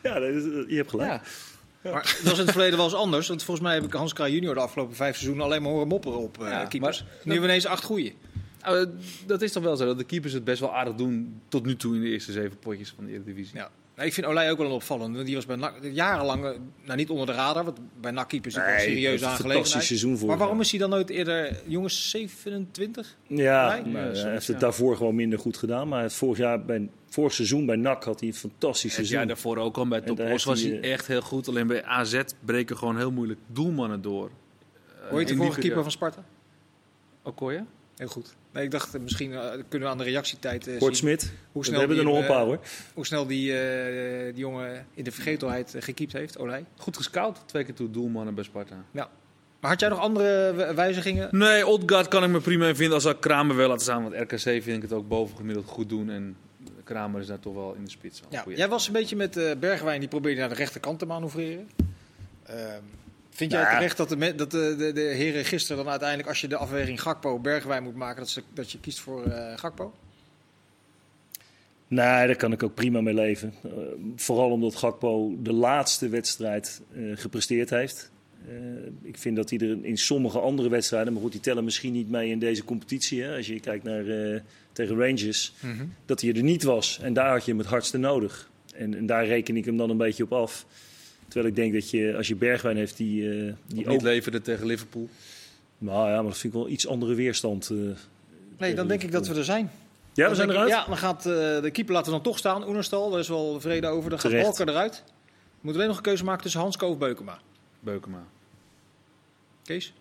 S2: Ja, dat is- eh, je hebt gelijk.
S4: Ja.
S1: Maar dat was in het verleden wel eens anders. Want volgens mij heb ik Hans Kraaij junior de afgelopen vijf seizoenen alleen maar horen mopperen op eh,
S4: Ja,
S1: keepers.
S4: maar-
S1: nu hebben we ineens acht goeie.
S4: Eh, dat is toch wel zo, dat de keepers het best wel aardig doen tot nu toe in de eerste zeven potjes van de Eredivisie.
S1: Ja. Nou, ik vind Olij ook wel een opvallende. Want die was bij NAC jarenlang, eh, nou niet onder de radar, want bij NAC keepers is het wel een
S2: Nee,
S1: serieuze
S2: het is een
S1: aangelegenheid.
S2: fantastisch seizoen voor
S1: Maar waarom
S2: hem.
S1: is hij dan nooit eerder, jongens, 27?
S2: Ja,
S1: Nee?
S2: maar, eh,
S4: Ja,
S2: hij heeft het
S4: ja.
S2: daarvoor gewoon minder goed gedaan. Maar het vorig, jaar bij, vorig seizoen bij NAC had hij een fantastisch
S4: Het
S2: seizoen.
S4: jaar daarvoor ook al bij
S2: daar
S4: Top Os
S2: heeft
S4: was
S2: hij,
S4: hij
S2: eh,
S4: echt heel goed. Alleen bij AZ breken gewoon heel moeilijk doelmannen door. Eh,
S1: Hoor je
S4: in
S1: de
S4: die
S1: vorige keeper
S4: periode.
S1: van Sparta?
S4: Okoye?
S1: Heel goed. Nee, ik dacht, eh, misschien eh, kunnen we aan de reactietijd eh,
S2: Kort
S1: zien
S2: Smit,
S1: hoe
S2: we
S1: snel,
S2: hebben
S1: die,
S2: er nog
S1: hem,
S2: een paar
S1: eh,
S2: hoor.
S1: hoe snel die, eh, die jongen in de vergetelheid eh, gekiept heeft, Olij.
S4: Goed gescout, twee keer toe doelmannen bij Sparta.
S1: Maar had jij nog andere eh, wijzigingen?
S4: Nee, Odgaard kan ik me prima in vinden als ik Kramer wel laten staan. Want RKC vind ik het ook bovengemiddeld goed doen. En Kramer is daar toch wel in de spits. wel een
S1: Ja,
S4: goeie.
S1: jij was een beetje met eh, Bergwijn, die probeerde naar de rechterkant te manoeuvreren. Ehm, vind jij
S2: Nou ja.
S1: terecht dat, de, me- dat eh, de, de, de heren gisteren dan uiteindelijk, als je de afweging Gakpo-Bergwijn moet maken, dat, ze, dat je kiest voor eh, Gakpo?
S2: Nee, daar kan ik ook prima mee leven. Eh, vooral omdat Gakpo de laatste wedstrijd eh, gepresteerd heeft. Eh, ik vind dat hij er in sommige andere wedstrijden, maar goed, die tellen misschien niet mee in deze competitie. Hè, als je kijkt naar eh, tegen Rangers, dat hij er niet was. En daar had je hem het hardste nodig. En, en daar reken ik hem dan een beetje op af. Terwijl ik denk dat je, als je Bergwijn heeft, die, eh, die
S4: Of niet
S2: ook...
S4: leverde tegen Liverpool.
S2: Nou ja, maar dat vind ik wel iets andere weerstand. eh.
S1: Nee, dan denk ik dat we er zijn.
S2: Ja, we
S1: Dan
S2: zijn
S1: denk ik-
S2: eruit.
S1: Ja, dan gaat eh, de keeper laten we dan toch staan. Oenerstal, daar is wel vrede over. Dan gaat
S2: Terecht.
S1: Balker eruit. Moeten we alleen nog een keuze maken tussen Hansko of Beukema.
S4: Beukema.
S1: Kees?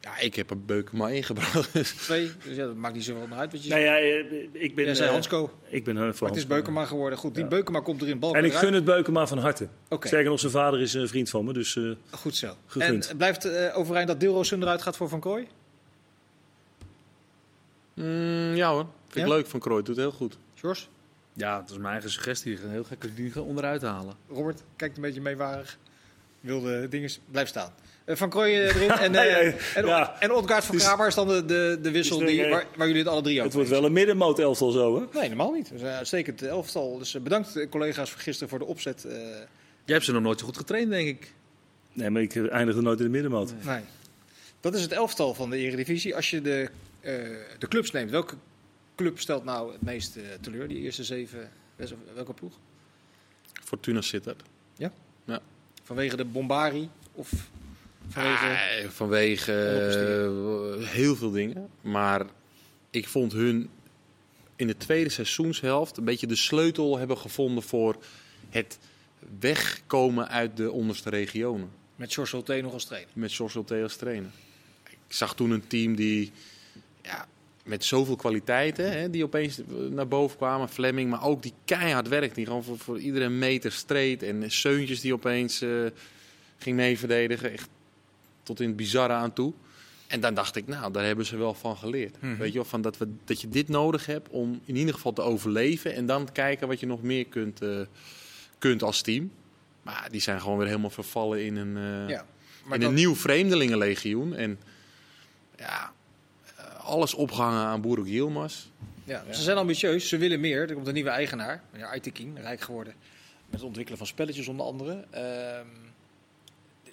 S3: Ja, ik heb een Beukema ingebracht.
S1: Twee? Dus ja, dat maakt niet zoveel uit. Wat je
S2: Nou
S1: zegt.
S2: ja, eh, ik ben...
S1: Jij zei
S2: eh,
S1: Hansko,
S2: Ik ben eh, voor
S1: maar het is
S2: Hansko.
S1: Beukema geworden. Goed, die
S2: Ja.
S1: Beukema komt erin. Balker
S2: En ik
S1: eruit.
S2: gun het Beukema van harte.
S1: Oké.
S2: Sterker nog, zijn vader is een vriend van me. Dus eh,
S1: Goed zo.
S2: Gegund.
S1: En blijft eh, overeind dat Dilrosun eruit gaat voor Van Kooi?
S3: Mm, ja hoor, vind ik
S1: Ja?
S3: leuk van Krooi. Doet heel goed.
S1: Sjors?
S4: Ja, dat is mijn eigen suggestie. Heel gek als ik die gaan onderuit halen.
S1: Robert kijkt een beetje meewarig. Wilde dingen. Blijf staan. Eh, van Kooi eh, erin en, eh
S2: Ja, ja,
S1: en,
S2: ja.
S1: en Odgaard van
S2: Het is-
S1: Kramer is dan de, de, de wissel
S2: het is
S1: die,
S2: er, eh,
S1: waar, waar jullie het alle drie over
S2: het wordt wel een middenmoot elftal zo, hè?
S1: Nee, helemaal niet. We zijn een uitstekend elftal. Dus eh, bedankt eh, collega's voor gisteren voor de opzet. eh,
S4: Jij hebt ze nog nooit zo goed getraind, denk ik.
S2: Nee, maar ik eh, eindigde nooit in de middenmoot.
S1: nee. Dat is het elftal van de Eredivisie. Als je de, eh, de clubs neemt, welke club stelt nou het meest eh, teleur? Die eerste zeven, wes- welke ploeg?
S3: Fortuna Sittard.
S1: Vanwege de bombari of vanwege...
S3: Ah, vanwege eh, heel veel dingen. Maar ik vond hun in de tweede seizoenshelft een beetje de sleutel hebben gevonden voor het wegkomen uit de onderste regionen.
S1: Met George Holte nog als trainer.
S3: Met Sorsel Theos trainen. Ik zag toen een team die ja, met zoveel kwaliteiten, hè, die opeens naar boven kwamen. Fleming, maar ook die keihard werkt. Die gewoon voor, voor iedere meter streed. En Seuntjes die opeens eh, ging meeverdedigen. Echt tot in het bizarre aan toe. En dan dacht ik, nou, daar hebben ze wel van geleerd. Weet je wel, van dat, we, dat je dit nodig hebt om in ieder geval te overleven. En dan kijken wat je nog meer kunt, eh, kunt als team. Maar die zijn gewoon weer helemaal vervallen in een... eh,
S1: Ja.
S3: in
S1: dan-
S3: een nieuw vreemdelingenlegioen. En ja, eh, alles opgehangen aan Boeruk Yilmaz.
S1: Ja, Ze zijn ambitieus, ze willen meer. Er komt een nieuwe eigenaar, meneer Aitekin, rijk geworden. Met het ontwikkelen van spelletjes onder andere. Ehm,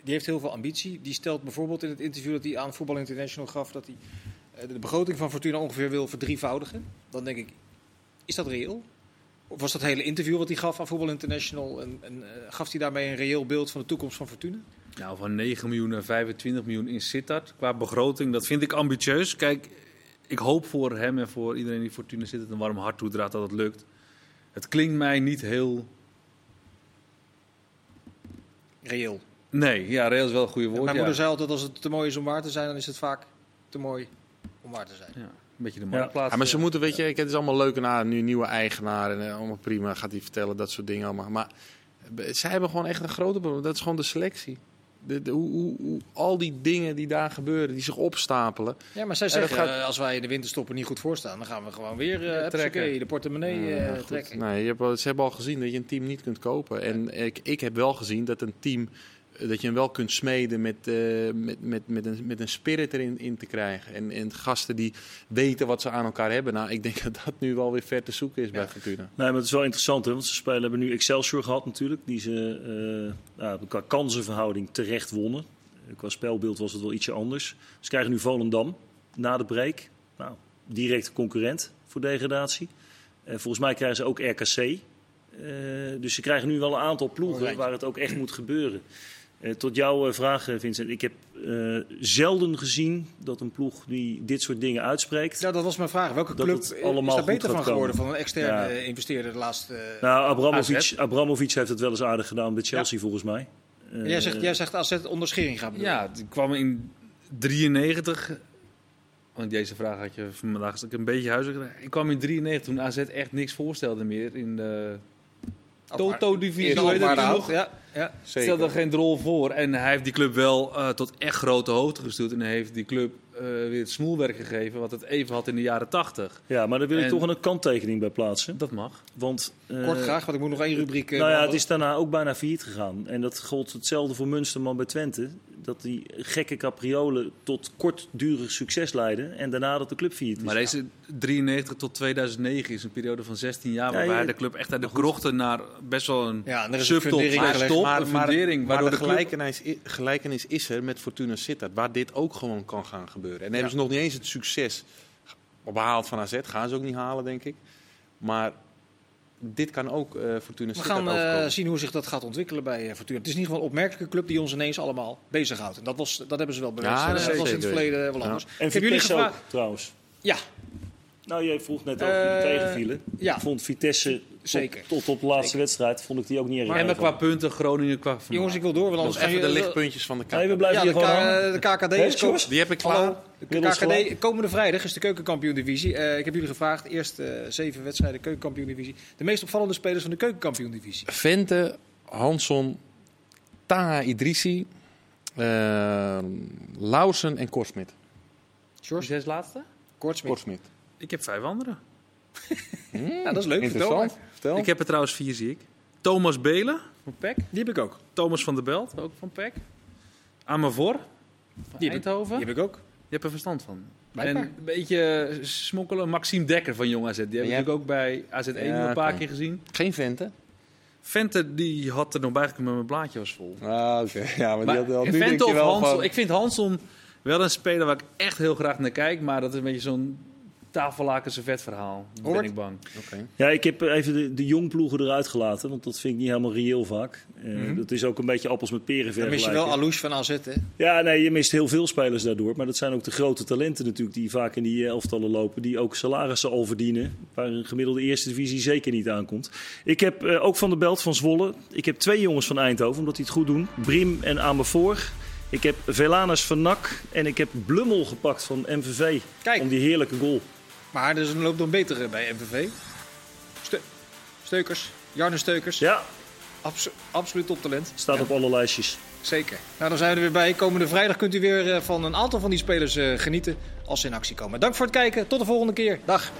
S1: die heeft heel veel ambitie. Die stelt bijvoorbeeld in het interview dat hij aan Voetbal International gaf... dat hij eh, de begroting van Fortuna ongeveer wil verdrievoudigen. Dan denk ik, is dat reëel? Of was dat hele interview wat hij gaf aan Voetbal International... en, en, eh, gaf hij daarmee een reëel beeld van de toekomst van Fortuna?
S4: Nou, van 9 miljoen naar 25 miljoen in Sittard. Qua begroting, dat vind ik ambitieus. Kijk, ik hoop voor hem en voor iedereen die Fortuna Sittard een warm hart toedraagt dat het lukt. Het klinkt mij niet heel...
S1: Reëel.
S4: Nee, ja, reëel is wel een goede woord.
S1: Mijn
S4: ja.
S1: moeder zei altijd, als het te mooi is om waar te zijn... dan is het vaak te mooi om waar te zijn.
S4: Ja, een beetje de marktplaats.
S3: Ja, maar ze moeten, weet je, kijk, het is allemaal leuk en aardig. Nu nieuwe eigenaar en eh, allemaal prima. Gaat hij vertellen, dat soort dingen allemaal. Maar eh, zij hebben gewoon echt een grote probleem. Dat is gewoon de selectie. De, de- hoe, hoe, hoe- al die dingen die daar gebeuren, die zich opstapelen.
S1: Ja, maar zij
S3: Ja, dat
S1: zeggen,
S3: gaat-
S1: eh, als wij in de winterstoppen niet goed voorstaan, dan gaan we gewoon weer eh,
S4: trekken.
S1: hupsakee, de portemonnee eh,
S3: Ja, goed. Nou,
S1: trekken.
S3: Nee, je hebt, al- ze hebben al gezien dat je een team niet kunt kopen. En ik, ik heb wel gezien dat een team, eh, dat je hem wel kunt smeden met, eh, met, met, met, een, met een spirit erin in te krijgen. En, en gasten die weten wat ze aan elkaar hebben. Nou, ik denk dat dat nu wel weer ver te zoeken is bij Fortuna.
S2: Nee, maar het is wel interessant, hè, want ze spelen, hebben nu Excelsior gehad natuurlijk. Die ze eh, nou, qua kansenverhouding terecht wonnen. Eh, Qua spelbeeld was het wel ietsje anders. Ze krijgen nu Volendam na de break. Nou, directe concurrent voor degradatie. Eh, volgens mij krijgen ze ook RKC. Eh, dus ze krijgen nu wel een aantal ploegen
S1: Oranje.
S2: waar het ook echt moet gebeuren. Eh, tot jouw eh, vraag, eh, Vincent. Ik heb eh, zelden gezien dat een ploeg die dit soort dingen uitspreekt...
S1: Ja, Nou, dat was mijn vraag. Welke
S2: Dat
S1: club
S2: het
S1: eh, is
S2: allemaal
S1: daar
S2: goed
S1: beter
S2: gaat
S1: van
S2: komen.
S1: geworden van een externe
S2: Ja.
S1: eh, investeerder de laatste... eh,
S2: Nou, Abramovic,
S4: AZ.
S2: Abramovic heeft het wel eens aardig gedaan bij Chelsea, volgens mij. Eh,
S1: jij, zegt, jij zegt AZ onder schering gaan bedoelen.
S4: Ja, die kwam in 93. Want deze vraag had je vandaag ik een beetje huizen Ik kwam in 93 toen AZ echt niks voorstelde meer in de Toto-divisie.
S1: Eerst
S4: Hoe heet dat
S1: Alkmaar de
S4: toen
S1: Hout,
S4: nog?
S1: ja, ja.
S4: Stelde geen rol voor. En hij heeft die club wel eh, tot echt grote hoogte gestuurd. En hij heeft die club eh, weer het smoelwerk gegeven wat het even had in de jaren 80.
S2: Ja, maar daar wil ik
S4: En-
S2: toch een kanttekening bij plaatsen.
S4: Dat mag.
S2: Want, eh,
S1: Kort graag, want ik moet nog één rubriek... eh,
S2: Nou ja, het
S1: behandelen.
S2: is daarna ook bijna failliet gegaan. En dat gold hetzelfde voor Munsterman bij Twente. Dat die gekke capriolen tot kortdurig succes leiden. En daarna dat de club failliet is.
S4: Maar deze 93 tot 2009 is een periode van 16 jaar
S2: Ja,
S4: waarbij
S2: je-
S4: de club echt uit de krochten naar best wel een
S1: Ja, en er is een
S4: subtop
S1: fundering
S4: maar
S1: gelegd.
S4: top, een fundering waardoor
S3: de
S4: de club
S3: gelijkenis, i- gelijkenis is er met Fortuna Sittard, waar dit ook gewoon kan gaan gebeuren. En hebben ze nog niet eens het succes behaald van AZ, gaan ze ook niet halen, denk ik. Maar dit kan ook eh
S2: Dus
S3: Fortuna
S1: We
S3: Sittard
S1: gaan eh,
S3: overkomen.
S1: zien hoe zich dat gaat ontwikkelen bij eh, Fortuna. Het is in ieder geval een opmerkelijke club die ons ineens allemaal bezighoudt. En dat, was, dat hebben ze wel bewezen.
S3: Ja,
S1: En
S3: dat
S1: dat was in het
S3: zeker.
S1: verleden wel
S3: Ja.
S1: anders.
S2: En
S1: Hebben jullie
S2: Vitesse ook,
S1: gevraagd?
S2: trouwens.
S1: Ja,
S2: Nou, jij vroeg net over die
S1: Eh,
S2: tegenvielen.
S1: ja.
S2: Ik vond Vitesse tot-
S1: Zeker.
S2: tot, op de laatste wedstrijd vond ik die ook niet erg.
S4: En
S2: erg.
S4: qua punten, Groningen qua vermaak.
S1: jongens, ik wil door. Want
S3: Dat
S1: anders
S3: is even de
S1: gaan jullie-
S3: lichtpuntjes van de
S2: Nee, we
S3: kaart.
S2: blijven
S1: Ja, de,
S2: hier gewoon hangen.
S1: K- de KKD
S2: Hè,
S1: is koop.
S2: Sjors?
S3: Die heb ik klaar.
S1: Hallo. De
S2: Wil ons
S1: KKD,
S2: gelijk?
S1: komende vrijdag is de keukenkampioen-divisie. Eh, ik heb jullie gevraagd, eerst eh, zeven wedstrijden keukenkampioen-divisie. De meest opvallende spelers van de keukenkampioen-divisie.
S3: Vente, Hanson, Taha Idrissi, eh, Lausen en Korsmit.
S1: Sjors,
S4: zes laatste?
S1: Kortsmit.
S3: Korsmit.
S4: Ik heb vijf anderen.
S1: Ja, dat is leuk. Vertel maar.
S3: Interessant. Vertel.
S4: Ik heb er trouwens vier, zie ik. Thomas Belen van PEC.
S1: Die heb ik ook.
S4: Thomas van der Belt, ook van PEC. Amavor van
S1: Die heb ik-
S4: Eindhoven.
S1: Die heb ik ook.
S4: Je hebt er verstand van. En
S1: Blijkbaar.
S4: een beetje smokkelen. Maxime Dekker van Jong AZ. Die heb ik
S3: Ja.
S4: natuurlijk ook bij AZ1
S3: Ja,
S4: een paar
S3: oké.
S4: keer gezien.
S3: Geen Vente.
S4: Vente die had er nog bij gekomen, maar mijn blaadje was vol.
S3: Ah, oké. Ja, maar, die had,
S4: Maar
S3: nu denk
S4: Vente
S3: je
S4: of
S3: wel
S4: Hanson.
S3: van...
S4: Ik vind Hanson wel een speler waar ik echt heel graag naar kijk. Maar dat is een beetje zo'n tafellakense vet verhaal.
S1: Hoort.
S4: Ben ik bang.
S3: Oké.
S2: Ja, ik heb even de, de jongploegen eruit gelaten, want dat vind ik niet helemaal reëel vaak. Eh, Dat is ook een beetje appels met peren
S1: Mhm. Dan mis je
S2: vergelijken.
S1: wel Alouche van AZ, hè?
S2: Ja, nee, je mist heel veel spelers daardoor. Maar dat zijn ook de grote talenten natuurlijk die vaak in die eh, elftallen lopen. Die ook salarissen al verdienen. Waar een gemiddelde eerste divisie zeker niet aankomt. Ik heb eh, ook Van de Belt van Zwolle. Ik heb twee jongens van Eindhoven, omdat die het goed doen. Brim en Amervoor. Ik heb Velanus van NAC. En ik heb Blummel gepakt van MVV.
S1: Kijk.
S2: Om die heerlijke goal.
S1: Maar er is een loopt dan betere bij MVV. Ste- Steukers. Jarno Steukers.
S2: Ja,
S1: Abso- absoluut toptalent.
S2: staat op alle lijstjes.
S1: Zeker. Nou, dan zijn we er weer bij. Komende vrijdag kunt u weer eh, van een aantal van die spelers eh, genieten als ze in actie komen. Dank voor het kijken. Tot de volgende keer. Dag.